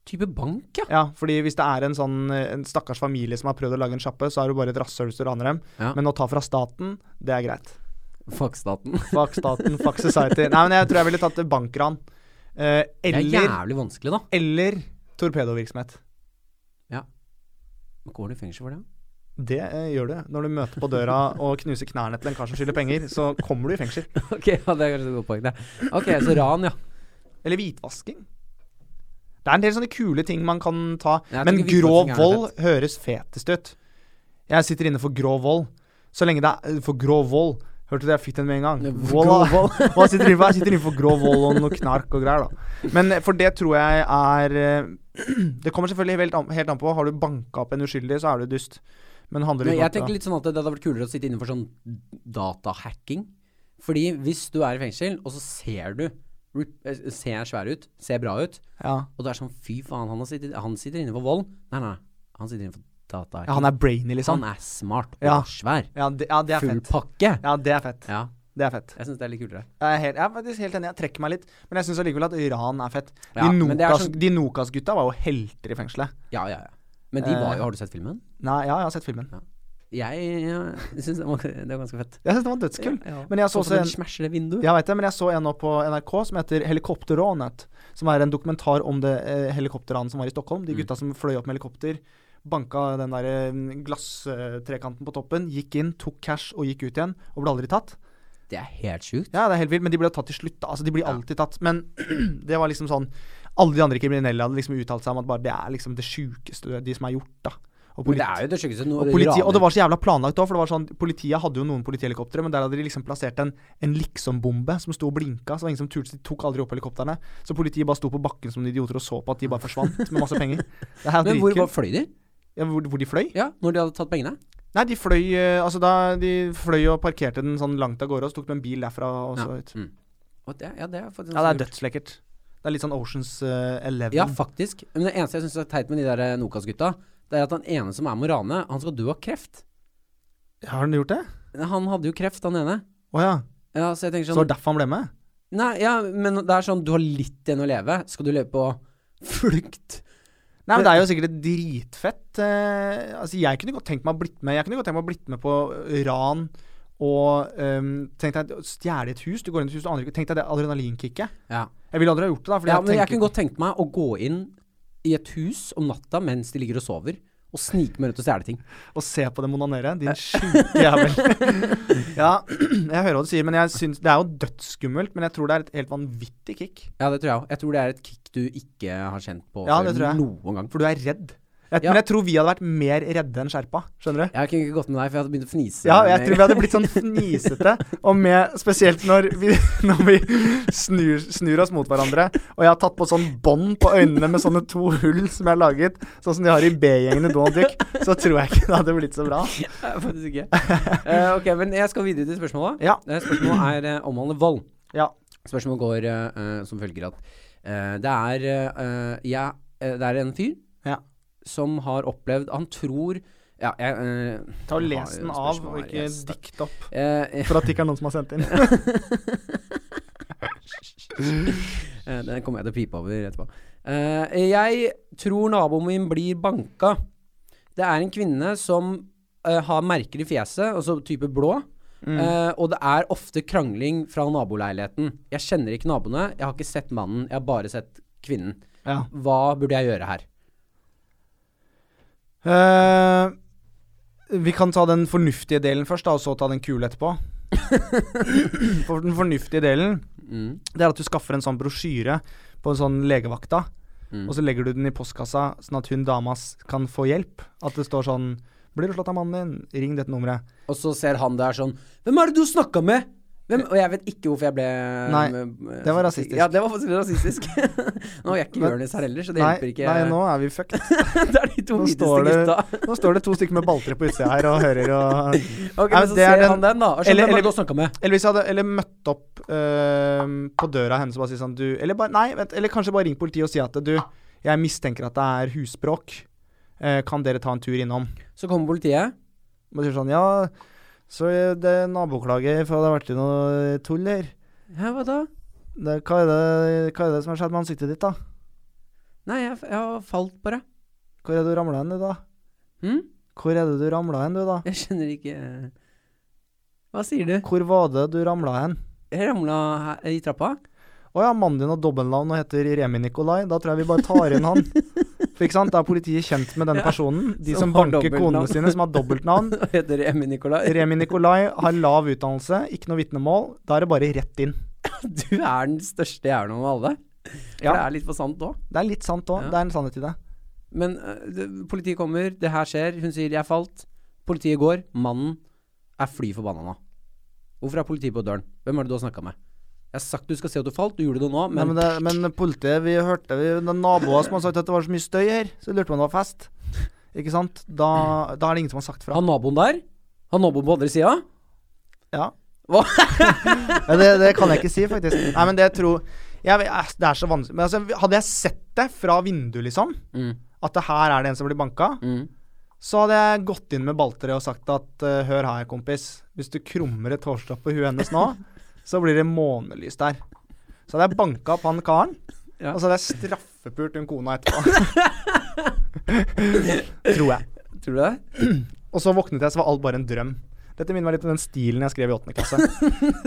S1: Type bank, ja.
S2: Ja, fordi hvis det er en sånn eh, En stakkars familie som har prøvd å lage en sjappe, så er du bare et rasshøl hvis du raner dem.
S1: Ja.
S2: Men å ta fra staten, det er greit.
S1: Fuck staten.
S2: Fuck staten, fuck society. Nei, men jeg tror jeg ville tatt bankran. Eh,
S1: Det er
S2: eller
S1: jævlig vanskelig, da.
S2: eller torpedovirksomhet.
S1: Går du i fengsel for det?
S2: Det eh, gjør du. Når du møter på døra og knuser knærne til en kar som skylder penger, så kommer du i fengsel.
S1: [laughs] ok, ja, det er kanskje et godt poeng, det. Ok, så ran, [laughs] ja.
S2: Eller hvitvasking. Det er en del sånne kule ting man kan ta.
S1: Jeg
S2: Men
S1: tenker hvitvasking
S2: grov
S1: er noe
S2: vold høres fetest ut. Jeg sitter inne for grov vold. Så lenge det er for grov vold Hørte du det? Jeg fikk den med en gang. Vold,
S1: Grov vold.
S2: [laughs] Hva sitter du innenfor? Jeg sitter innenfor grov vold og noe knark og greier, da. Men eh, for det tror jeg er eh, [clears throat] Det kommer selvfølgelig helt an, helt an på. Har du banka opp en uskyldig, så er du dust. Men handler det
S1: Men
S2: ikke
S1: jeg
S2: om
S1: tenker
S2: det?
S1: litt sånn at det hadde vært kulere å sitte innenfor sånn datahacking. Fordi hvis du er i fengsel, og så ser du rip- eh, Ser svær ut, ser bra ut,
S2: Ja.
S1: og det er sånn fy faen, han, har sittet, han sitter inne for vold. Nei, nei, han sitter inne for
S2: ja,
S1: datahacking.
S2: han er brainy, liksom.
S1: han er smart og
S2: Ja.
S1: svær.
S2: Ja, det, ja, det er
S1: Full
S2: fett.
S1: pakke.
S2: Ja, det er fett.
S1: Ja,
S2: Det er fett.
S1: jeg syns det er litt kulere.
S2: Jeg er, helt, jeg er faktisk helt enig. Jeg trekker meg litt. Men jeg syns allikevel at ran er fett. De
S1: Ja, men det er
S2: Nokas-
S1: sånn-
S2: de Nokas-gutta var jo helter i fengselet.
S1: Ja, ja, ja. Men de var
S2: Eh.
S1: jo Har du sett filmen?
S2: Nei, ja, jeg har sett filmen.
S1: Jeg, jeg syns det, var- det var ganske fett.
S2: Jeg syns den var dødskull.
S1: Ja, ja.
S2: Men jeg så også
S1: Sånn som
S2: en
S1: de smasher det vinduet.
S2: Jeg vet det, men jeg så en nå på NRK som heter 'Helikopterranet'. Som er en dokumentar om det eh, helikopterranet som var i Stockholm.
S1: Mm.
S2: De gutta som fløy opp med helikopter, banka den der eh, glasstrekanten på toppen, gikk inn, tok cash og gikk ut igjen, og ble aldri tatt.
S1: Det er helt sjukt.
S2: Ja, det er helt vilt, men de ble tatt til slutt. da. Altså, de blir
S1: Ja.
S2: alltid tatt. Men [clears throat] det var liksom sånn Alle de andre kriminelle hadde liksom uttalt seg om at bare det er liksom det sjukeste de som er gjort, da.
S1: Men det
S2: Og politi-
S1: er jo det sjukeste når
S2: og,
S1: du
S2: politi, og
S1: raner-
S2: det var så jævla planlagt òg, for det var sånn Politiet hadde jo noen politihelikoptre, men der hadde de liksom plassert en, en liksom-bombe som sto og blinka, så det var ingen som turte, så de tok aldri opp helikoptrene. Så politiet bare sto på bakken som noen idioter og så på at de bare forsvant med masse penger. Det her er
S1: [laughs] Men hvor
S2: dritkult.
S1: var fløy de?
S2: ja, hvor, hvor de fløy?
S1: Ja, når de hadde tatt pengene?
S2: Nei, de fløy eh, Altså, da de fløy og parkerte den sånn langt av gårde, og så tok de en bil derfra og så ut.
S1: Mm. Og det, ja, det er faktisk
S2: Ja, det er
S1: ganske lurt.
S2: dødslekkert. Det er litt sånn Oceans eh, Eleven.
S1: Ja, faktisk. Men det eneste jeg syns er teit med de der eh, Nokas-gutta, det er at han ene som er med å rane, han skal dø av kreft.
S2: Har han gjort det?
S1: Han hadde jo kreft, han ene.
S2: Å ja.
S1: Ja, så jeg tenker
S2: Så det var
S1: sånn
S2: derfor han ble med?
S1: Nei, ja, men det er sånn, du har litt igjen å leve. Skal du leve på flukt?
S2: Nei, men det er jo sikkert et dritfett eh, Altså, jeg kunne godt tenkt meg å blitt med Jeg kunne godt tenkt meg å blitt med på eh, ran Og ehm, tenk deg å stjele et hus. Du går inn i et hus, du aner ikke Tenk deg det adrenalinkicket.
S1: Ja.
S2: Jeg ville aldri ha gjort det, da. Fordi
S1: ja,
S2: jeg
S1: men jeg
S2: tenker-
S1: kunne godt tenkt meg å gå inn i et hus om natta mens de ligger og sover, og snike meg rundt og stjele ting.
S2: Å se på dem onanere,
S1: [laughs]
S2: din sjuke jævel. [laughs] ja, [clears throat] jeg hører hva du sier, men jeg syns Det er jo dødsskummelt, men jeg tror det er et helt vanvittig kick.
S1: Ja, det tror jeg òg. Jeg tror det er et kick du ikke har kjent på
S2: Ja,
S1: før
S2: det tror jeg.
S1: noen gang.
S2: For du er redd. Jeg,
S1: Ja.
S2: Men jeg tror vi hadde vært mer redde enn skjerpa. Skjønner du?
S1: Jeg kunne ikke gått med deg, for jeg hadde begynt å fnise.
S2: Ja, jeg
S1: med-
S2: tror vi hadde blitt sånn fnisete, og med, spesielt når vi, [laughs] når vi snur, snur oss mot hverandre. Og jeg har tatt på sånn bånd på øynene med sånne to hull som jeg har laget, sånn som de har i B-gjengen i Donald Duck, så tror jeg ikke det hadde blitt så bra.
S1: [laughs] Nei, Faktisk ikke. Eh, ok, men jeg skal videre til spørsmålet.
S2: Ja.
S1: Eh, Spørsmålet er eh, omhandler vold.
S2: Ja.
S1: Spørsmålet går eh, eh, som følger at eh, det er eh, jeg- eh, Det er en fyr
S2: Ja.
S1: som har opplevd Han tror Ja, jeg eh,
S2: Ta og
S1: jeg har
S2: les
S1: jo
S2: den
S1: et
S2: av,
S1: spørsmål
S2: og
S1: her.
S2: ikke
S1: Yes, takk.
S2: dikt opp.
S1: Eh, [laughs]
S2: For at det ikke er noen som har sendt inn.
S1: Eh, Den kommer jeg til å pipe over etterpå. Eh, jeg tror naboen min blir banka. Det er en kvinne som eh, har merker i fjeset, altså type blå.
S2: Mm.
S1: Eh, og det er ofte krangling fra naboleiligheten. Jeg kjenner ikke naboene, jeg har ikke sett mannen, jeg har bare sett kvinnen.
S2: Ja.
S1: Hva burde jeg gjøre her?
S2: Eh, vi kan ta den fornuftige delen først, da, og så ta den
S1: [laughs]
S2: kule etterpå. For den fornuftige delen
S1: Mm.
S2: Det er at du skaffer en sånn brosjyre på en sånn legevakta,
S1: Mm.
S2: og så legger du den i postkassa, sånn at hun dama s- kan få hjelp. At det står sånn Blir du slått av mannen din? Ring dette nummeret.
S1: Og så ser han der sånn Hvem er det du snakka med? Hvem? Og jeg vet ikke hvorfor jeg ble
S2: Nei,
S1: eh,
S2: det var rasistisk.
S1: Ja, det var faktisk rasistisk. [laughs] nå er jeg ikke
S2: Men-
S1: Jonis her heller, så det
S2: Nei,
S1: hjelper ikke.
S2: nei, nå er vi fucked.
S1: [laughs] det er de to
S2: Nå
S1: hviteste
S2: står det-
S1: gutta.
S2: Nå står det to stykker med balltre på utsida her og hører og
S1: Ok,
S2: Ja,
S1: men så
S2: det er
S1: ser
S2: den-
S1: han den, da. Og
S2: eller-
S1: skjønner hva
S2: eller-
S1: du har snakka med.
S2: Eller hvis jeg hadde eller møtt opp ehm, på døra hennes og bare si sånn du, eller, bare, nei, vent, eller kanskje bare ring politiet og si at du, jeg mistenker at det er husbråk. Eh, kan dere ta en tur innom?
S1: Så kommer politiet.
S2: Og sier sånn ja, så er det er naboklage for det har vært noe tull her.
S1: Hæ, hva da?
S2: Det, hva, er det, hva er det som har skjedd med ansiktet ditt, da?
S1: Nei, jeg, jeg har falt bare.
S2: Hvor er det du ramla hen, du, da?
S1: Hm?
S2: Hvor er det du ramla hen, du, da?
S1: Jeg skjønner ikke Hva sier du?
S2: Hvor var det du ramla hen?
S1: Jeg ramla her i trappa. [laughs]
S2: Å ja, mannen din har dobbeltnavn og heter Remi Nikolai. Da tror jeg vi bare tar inn han. For ikke sant, Da er politiet kjent med den
S1: Ja,
S2: personen. De
S1: som
S2: som
S1: har
S2: banker konene
S1: dobbeltnavn.
S2: sine, som har dobbeltnavn.
S1: Hva heter Emmy Nicolai?
S2: Remi Nikolai har lav utdannelse, ikke noe vitnemål. Da er det bare rett inn.
S1: Du er den største jævelen av alle. For
S2: Ja.
S1: det er litt for sant òg.
S2: Det er litt sant òg.
S1: Ja.
S2: Det er en sannhet i det.
S1: Men eh, det- politiet kommer, det her skjer, hun sier 'jeg falt'. Politiet går, mannen er fly forbanna nå. Hvorfor er politiet på døren? Hvem er det du har snakka med? Jeg har sagt du skal se at du falt, du gjorde det nå,
S2: Men,
S1: men
S2: det, men politiet, vi hørte vi, det er naboer som har sagt at det var så mye støy her, så lurte man om det var fest. Ikke sant? Da, da er det ingen som har sagt fra.
S1: han naboen der? Han naboen på andre sida?
S2: Ja.
S1: Hva?
S2: [laughs] Ja, det, det kan jeg ikke si, faktisk. Nei, men det tror jeg, jeg, Det er så vanskelig. Men altså, hadde jeg sett det fra vinduet, liksom,
S1: Mm,
S2: at det her er det en som blir banka,
S1: mm.
S2: så hadde jeg gått inn med balltre og sagt at eh, hør her, kompis. Hvis du krummer et hårstrå på huet hennes nå, så blir det månelys der. Så hadde jeg banka opp han karen,
S1: Ja.
S2: og så hadde jeg straffepult hun kona etterpå. [laughs] Tror jeg.
S1: Tror du det?
S2: Og så våknet jeg, så var alt bare en drøm. Dette minner meg litt om den stilen jeg skrev i åttende
S1: [laughs]
S2: klasse.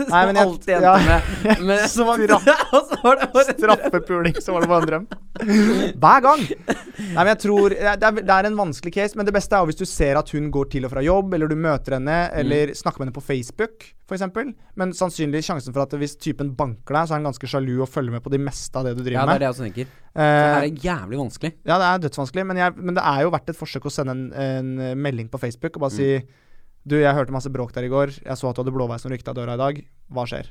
S1: Nei, men jeg, alltid endte
S2: ja,
S1: [laughs] med men,
S2: [laughs] Så var
S1: [laughs]
S2: det
S1: Og så var det bare
S2: Straffelpuling, så var det bare en drøm. Hver gang! Nei, men jeg tror det er, det er en vanskelig case, men det beste er jo hvis du ser at hun går til og fra jobb, eller du møter henne,
S1: Mm.
S2: eller snakker med henne på Facebook, f.eks. Men sannsynlig sjansen for at hvis typen banker deg, så er han ganske sjalu og følger med på det meste av det
S1: Ja,
S2: du driver
S1: det er
S2: med.
S1: det jeg også tenker. Det
S2: Eh,
S1: er jævlig vanskelig.
S2: ja, det er dødsvanskelig, men, jeg, men det er jo verdt et forsøk å sende en, en eh, melding på Facebook
S1: Mm.
S2: og bare si Du, jeg hørte masse bråk der i går. Jeg så at du hadde blåveis som rykket av døra i dag. Hva skjer?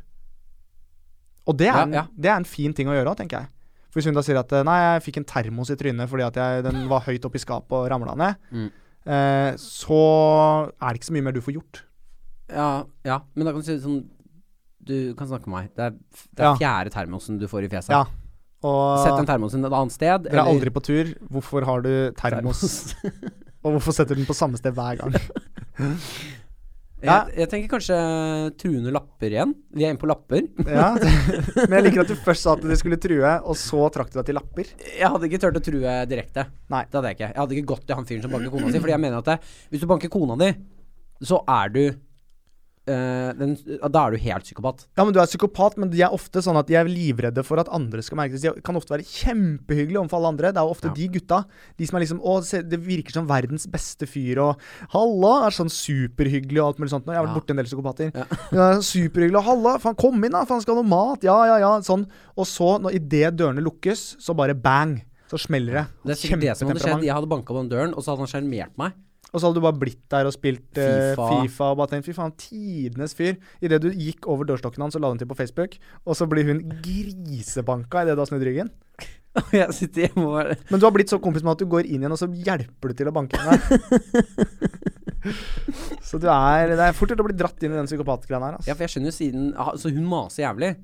S2: Og det er,
S1: Ja,
S2: en,
S1: ja.
S2: det er en fin ting å gjøre òg, tenker jeg. For hvis hun da sier at Nei, jeg fikk en termos i trynet fordi at jeg, den var høyt oppe i skapet og ramla ned,
S1: Mm.
S2: eh, så er det ikke så mye mer du får gjort.
S1: Ja, ja, men da kan du si sånn Du kan snakke med meg. Det er, f- det er
S2: Ja.
S1: fjerde termosen du får i fjeset.
S2: Ja.
S1: Sett den
S2: Og
S1: termosen et annet sted.
S2: dere er
S1: eller-
S2: aldri på tur. Hvorfor har du termos?
S1: [laughs]
S2: Og hvorfor setter du den på samme sted hver gang? Ja.
S1: Jeg, jeg tenker kanskje truende lapper igjen. Vi er inne på lapper.
S2: Ja, [laughs] Men jeg liker at du først sa at du skulle true, og så trakk du deg til lapper.
S1: Jeg hadde ikke turt å true direkte.
S2: Nei.
S1: Det hadde jeg ikke. Jeg hadde ikke gått til han fyren som banker kona si. Fordi jeg mener at det, hvis du banker kona di, så er du eh, eh, den, Da er du helt psykopat.
S2: Ja, men du er psykopat, men de er ofte sånn at de er livredde for at andre skal merke det. De kan ofte være kjempehyggelige overfor alle andre. Det er jo ofte
S1: Ja.
S2: de gutta. De som er liksom Å, se, det virker som verdens beste fyr, og halla! Er sånn superhyggelig og alt mulig sånt. Jeg har vært
S1: Ja.
S2: borti en del psykopater.
S1: Ja.
S2: [laughs] Ja, superhyggelig. Og halla! Faen, kom inn, da! Faen, skal ha noe mat? Ja, ja, ja. Sånn. Og så, når idet dørene lukkes, så bare bang! Så smeller det.
S1: Det er sikkert det som hadde skjedd.
S2: Kjempetemperament.
S1: Jeg hadde banka på den døren, og så hadde han sjarmert
S2: [laughs]
S1: meg.
S2: Og så hadde du bare blitt der og spilt eh,
S1: FIFA.
S2: FIFA og bare tenkt fy faen, tidenes fyr. Idet du gikk over dørstokken hans og la den til på Facebook, og så blir hun grisebanka idet du har snudd ryggen.
S1: Og jeg sitter hjemme og bare
S2: Men du har blitt så kompis med at du går inn igjen, og så hjelper du til å
S1: [laughs]
S2: banke henne. så du er Det er fort gjort å bli dratt inn i den psykopatgreia
S1: Ja,
S2: her, altså.
S1: for jeg skjønner jo siden ah, Så hun maser jævlig.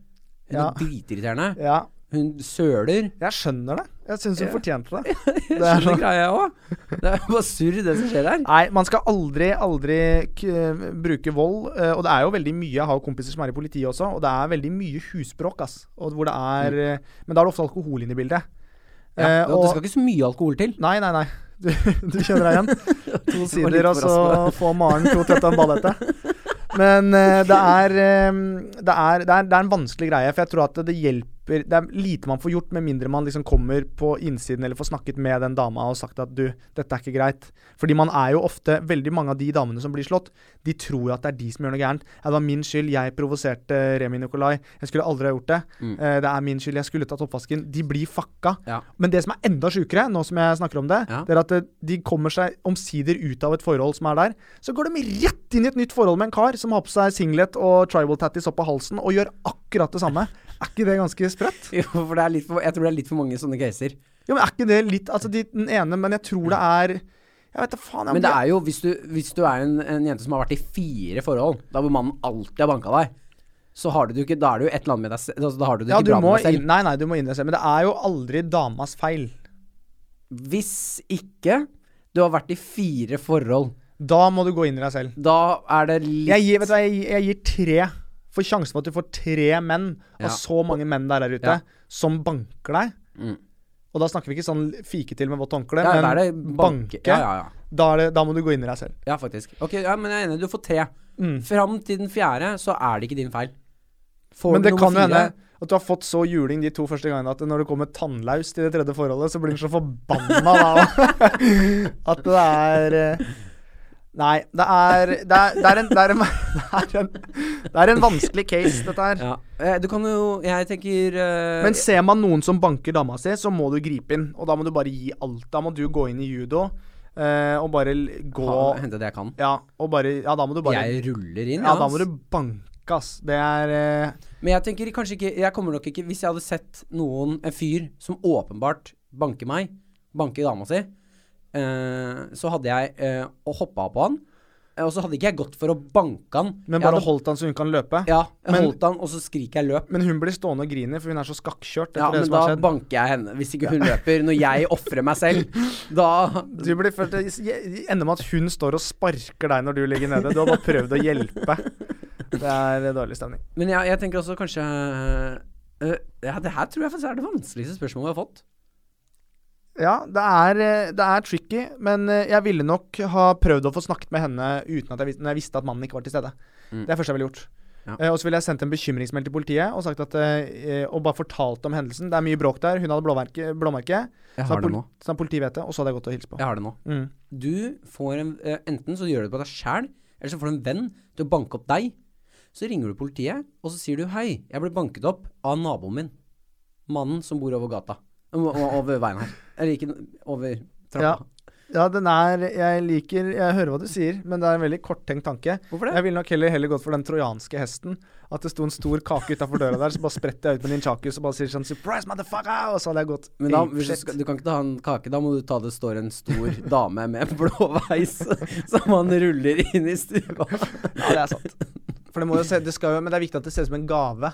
S1: Hun
S2: Ja.
S1: er dritirriterende.
S2: Ja.
S1: Hun søler.
S2: Jeg skjønner det. Jeg syns hun
S1: Ja.
S2: fortjente det.
S1: [laughs] Jeg
S2: [laughs] Det er
S1: skjønner
S2: sånn.
S1: greia, jeg òg. Det er bare surr, det som skjer her.
S2: Nei, man skal aldri, aldri k bruke vold. eh, og det er jo veldig mye Jeg har jo kompiser som er i politiet også, og det er veldig mye husbråk. ass. Og hvor det er, eh, Men da er det ofte alkohol inne i bildet.
S1: Mm. Ja,
S2: Eh,
S1: og det
S2: og-
S1: skal ikke så mye alkohol til.
S2: Nei, nei, [laughs] nei. Du, du kjenner deg igjen. To sider, altså. og så
S1: overraskende.
S2: får Maren to tett av en badehette. Men eh, det, er, eh, det, er, det, er, det er en vanskelig greie, for jeg tror at det hjelper Det er lite man får gjort, med mindre man liksom kommer på innsiden eller får snakket med den dama og sagt at du, dette er ikke greit. Fordi man er jo ofte Veldig mange av de damene som blir slått, de tror at det er de som gjør noe gærent. Ja, det var min skyld, jeg provoserte Remi Nikolai. Jeg skulle aldri ha gjort det.
S1: Mm.
S2: Eh, det er min skyld, jeg skulle tatt oppvasken. De blir fucka.
S1: Ja. [laughs]
S2: Men det som er enda sjukere, nå som jeg snakker om det,
S1: Ja.
S2: det er at eh, de kommer seg omsider ut av et forhold som er der. Så går de rett inn i et nytt forhold med en kar som har på seg singlet og tribal tatties opp av halsen, og gjør akkurat det samme. Er ikke det ganske sprøtt?
S1: Jo, for det er litt for, jeg tror det er litt for mange sånne caser.
S2: Jo, men er ikke det litt Altså, de, den ene, men jeg tror det er Jeg vet da faen. Jeg,
S1: Men det er jo, hvis du, hvis du er en, en jente som har vært i fire forhold, da hvor mannen alltid har banka deg, så har du det jo ikke Da er det jo et eller annet med deg selv altså, Da har du det
S2: ja,
S1: ikke
S2: du
S1: bra
S2: må
S1: med deg
S2: inn,
S1: selv.
S2: nei, nei, du må innrømme det. Men det er jo aldri damas feil.
S1: Hvis ikke du har vært i fire forhold,
S2: Da må du gå inn i deg selv.
S1: da er det litt
S2: Jeg gir, vet du hva, jeg, gir- jeg gir tre. For sjansen for at du får tre menn
S1: Ja.
S2: av så mange menn der, der ute
S1: Ja.
S2: som banker deg
S1: Mm.
S2: Og da snakker vi ikke sånn fike til med vått håndkle,
S1: ja, da
S2: men
S1: er det
S2: banke.
S1: banke. Ja, ja, ja.
S2: Da, er det, da må du gå inn i deg selv.
S1: ja, faktisk. Ok, ja, men jeg er enig, du får tre.
S2: Mm.
S1: Fram til den fjerde, så er det ikke din feil. Får
S2: Men
S1: du
S2: det
S1: nummer
S2: kan jo
S1: fire-
S2: hende at du har fått så juling de to første gangene at når du kommer tannlaus til det tredje forholdet, så blir du så forbanna da [laughs] at det er eh, Nei, det er Det er, det er, en, det er, en, [laughs] det er, en, det er en vanskelig case, dette her.
S1: ja. Eh, Du kan jo Jeg tenker eh,
S2: Men ser man noen som banker dama si, så må du gripe inn. Og da må du bare gi alt. Da må du gå inn i judo eh, og bare l- gå
S1: ha, Hente det jeg kan.
S2: Ja, og bare Ja, da må du bare
S1: Jeg ruller inn,
S2: Ja, da må
S1: ass.
S2: du banke, ass. Det er eh,
S1: Men jeg tenker kanskje ikke Jeg kommer nok ikke Hvis jeg hadde sett noen En fyr som åpenbart banker meg, banker dama si, eh, så hadde jeg eh, hoppa på han. eh, Og så hadde ikke jeg gått for å banke han.
S2: Men
S1: Jeg
S2: bare
S1: hadde,
S2: holdt han så hun kan løpe.
S1: Ja, jeg
S2: Men-
S1: holdt han, og så skriker jeg løp.
S2: Men hun blir stående og grine, for hun er så skakkjørt etter
S1: Ja,
S2: det
S1: men
S2: som
S1: da
S2: har skjedd.
S1: banker jeg henne, hvis ikke hun løper. Når jeg ofrer meg
S2: [laughs]
S1: selv, da
S2: Du blir ført, det ender med at hun står og sparker deg når du ligger nede. Du har bare prøvd å hjelpe.
S1: [laughs]
S2: Det er eh, dårlig stemning.
S1: Men jeg, jeg tenker også kanskje eh, Ja, det her tror jeg faktisk er det vanskeligste spørsmålet vi har fått.
S2: Ja, det er, eh, det er tricky, men eh, jeg ville nok ha prøvd å få snakket med henne uten at jeg, vis- når jeg visste at mannen ikke var til stede.
S1: Mm.
S2: Det er det første jeg ville gjort.
S1: Ja.
S2: Eh, og så ville jeg sendt en bekymringsmelding til politiet og, sagt at, eh, eh, og bare fortalt om hendelsen. Det er mye bråk der. Hun hadde blåmerke, blåmerke
S1: Jeg
S2: så
S1: har det nå.
S2: så politiet vet det, og så hadde jeg gått og hilst på.
S1: Jeg har det nå.
S2: Mm.
S1: Du får en eh, Enten så gjør du det på deg sjæl, eller så får du en venn til å banke opp deg. Så ringer du politiet, og så sier du 'Hei, jeg ble banket opp av naboen min'. Mannen som bor over gata. O- o- Over veien her. Eller ikke over trappa.
S2: Ja, den er Jeg liker Jeg hører hva du sier, men det er en veldig korttenkt tanke.
S1: Hvorfor det?
S2: Jeg ville nok heller, heller gått for den trojanske hesten. At det sto en stor kake utafor døra der, så bare spretter jeg ut med ninjakus og bare sier sånn 'Surprise, motherfucker!' Og så hadde jeg gått
S1: Men da,
S2: ape
S1: hvis du,
S2: shit.
S1: skal, du kan ikke ta en kake, da må du ta det står en stor dame med [laughs] blåveis som han ruller inn i stua.
S2: Ja, det er sant. For det må jo se, det skal jo, men det er viktig at det ser ut som en gave.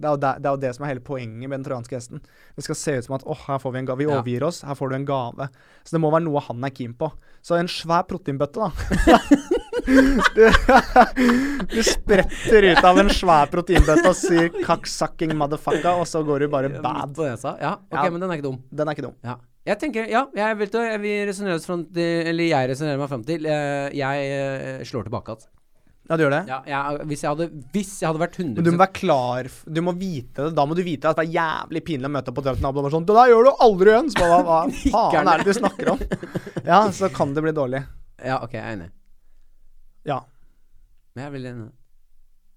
S2: Det er, jo det, det er jo det som er hele poenget med den trojanske hesten. Det skal se ut som at åh, her får vi en gave. Vi
S1: Ja.
S2: overgir oss, her får du en gave. Så det må være noe han er keen på. Så en svær proteinbøtte, [laughs] da. du, du spretter ut av en svær proteinbøtte og sier 'cocksucking motherfucker', og så går du bare bad.
S1: Midt på nesa. Ja, ok,
S2: Ja.
S1: men den er ikke dum.
S2: Den er ikke dum.
S1: Ja. Jeg tenker, ja, jeg vet det, jeg vil resonere oss fram til Eller jeg resonerer meg fram til eh, Jeg eh, slår tilbake igjen.
S2: Ja, du gjør det?
S1: Ja, jeg, hvis, jeg hadde, hvis jeg hadde vært
S2: Men du
S1: 100
S2: må være klar f- Du må vite det. Da må du vite at det er jævlig pinlig å møte opp på døra til naboen og bare sånn Det der gjør du aldri igjen! Så bare, hva
S1: [laughs]
S2: faen er det du snakker om? Ja, så kan det bli dårlig.
S1: Ja, ok, jeg er enig.
S2: Ja.
S1: Men jeg er veldig enig.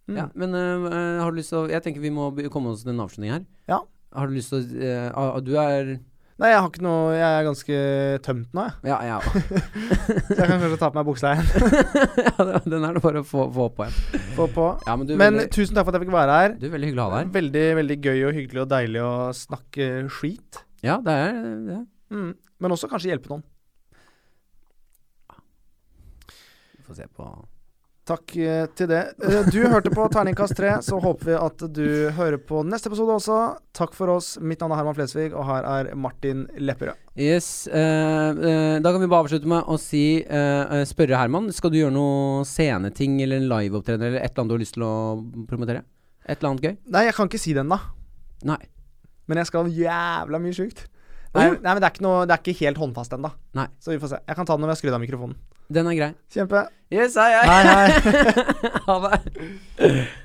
S2: Mm.
S1: Ja, men øh, øh, har du lyst til å Jeg tenker vi må be- komme oss til en avslutning her.
S2: Ja.
S1: Har du lyst til å øh, ah, Du er
S2: Nei, jeg har ikke noe Jeg er ganske tømt nå, jeg.
S1: Ja, ja. [laughs]
S2: Så jeg kan kanskje ta på meg buksa igjen.
S1: ja den er det bare å få, få på igjen.
S2: Få på.
S1: Ja, men du, er
S2: Men
S1: veldig,
S2: tusen takk for at jeg fikk være her.
S1: du er veldig hyggelig å ha deg her.
S2: Veldig, veldig gøy og hyggelig og deilig å snakke skit.
S1: Ja, det er det.
S2: Mm. Men også kanskje hjelpe noen.
S1: Vi får se på
S2: Takk eh, til det. Eh, Du hørte på Terningkast 3, så håper vi at du hører på neste episode også. Takk for oss. Mitt navn er Herman Flesvig, og her er Martin Lepperød.
S1: Yes. øh, øh, da kan vi bare avslutte med å si øh, øh, Spørre Herman, skal du gjøre noe sceneting eller en liveopptreden eller et eller annet du har lyst til å promotere? Et eller annet gøy?
S2: Nei, jeg kan ikke si det ennå,
S1: Nei.
S2: men jeg skal jævla mye sjukt.
S1: Å,
S2: Nei,
S1: ja.
S2: nei, men det er, ikke noe, det er ikke helt håndfast ennå,
S1: Nei.
S2: så vi får se. Jeg kan ta det når jeg skrur av mikrofonen.
S1: Den er grei.
S2: Kjempe. [laughs]
S1: Yes, hei, [laughs] hei.
S2: Hei, hei.
S1: ha det.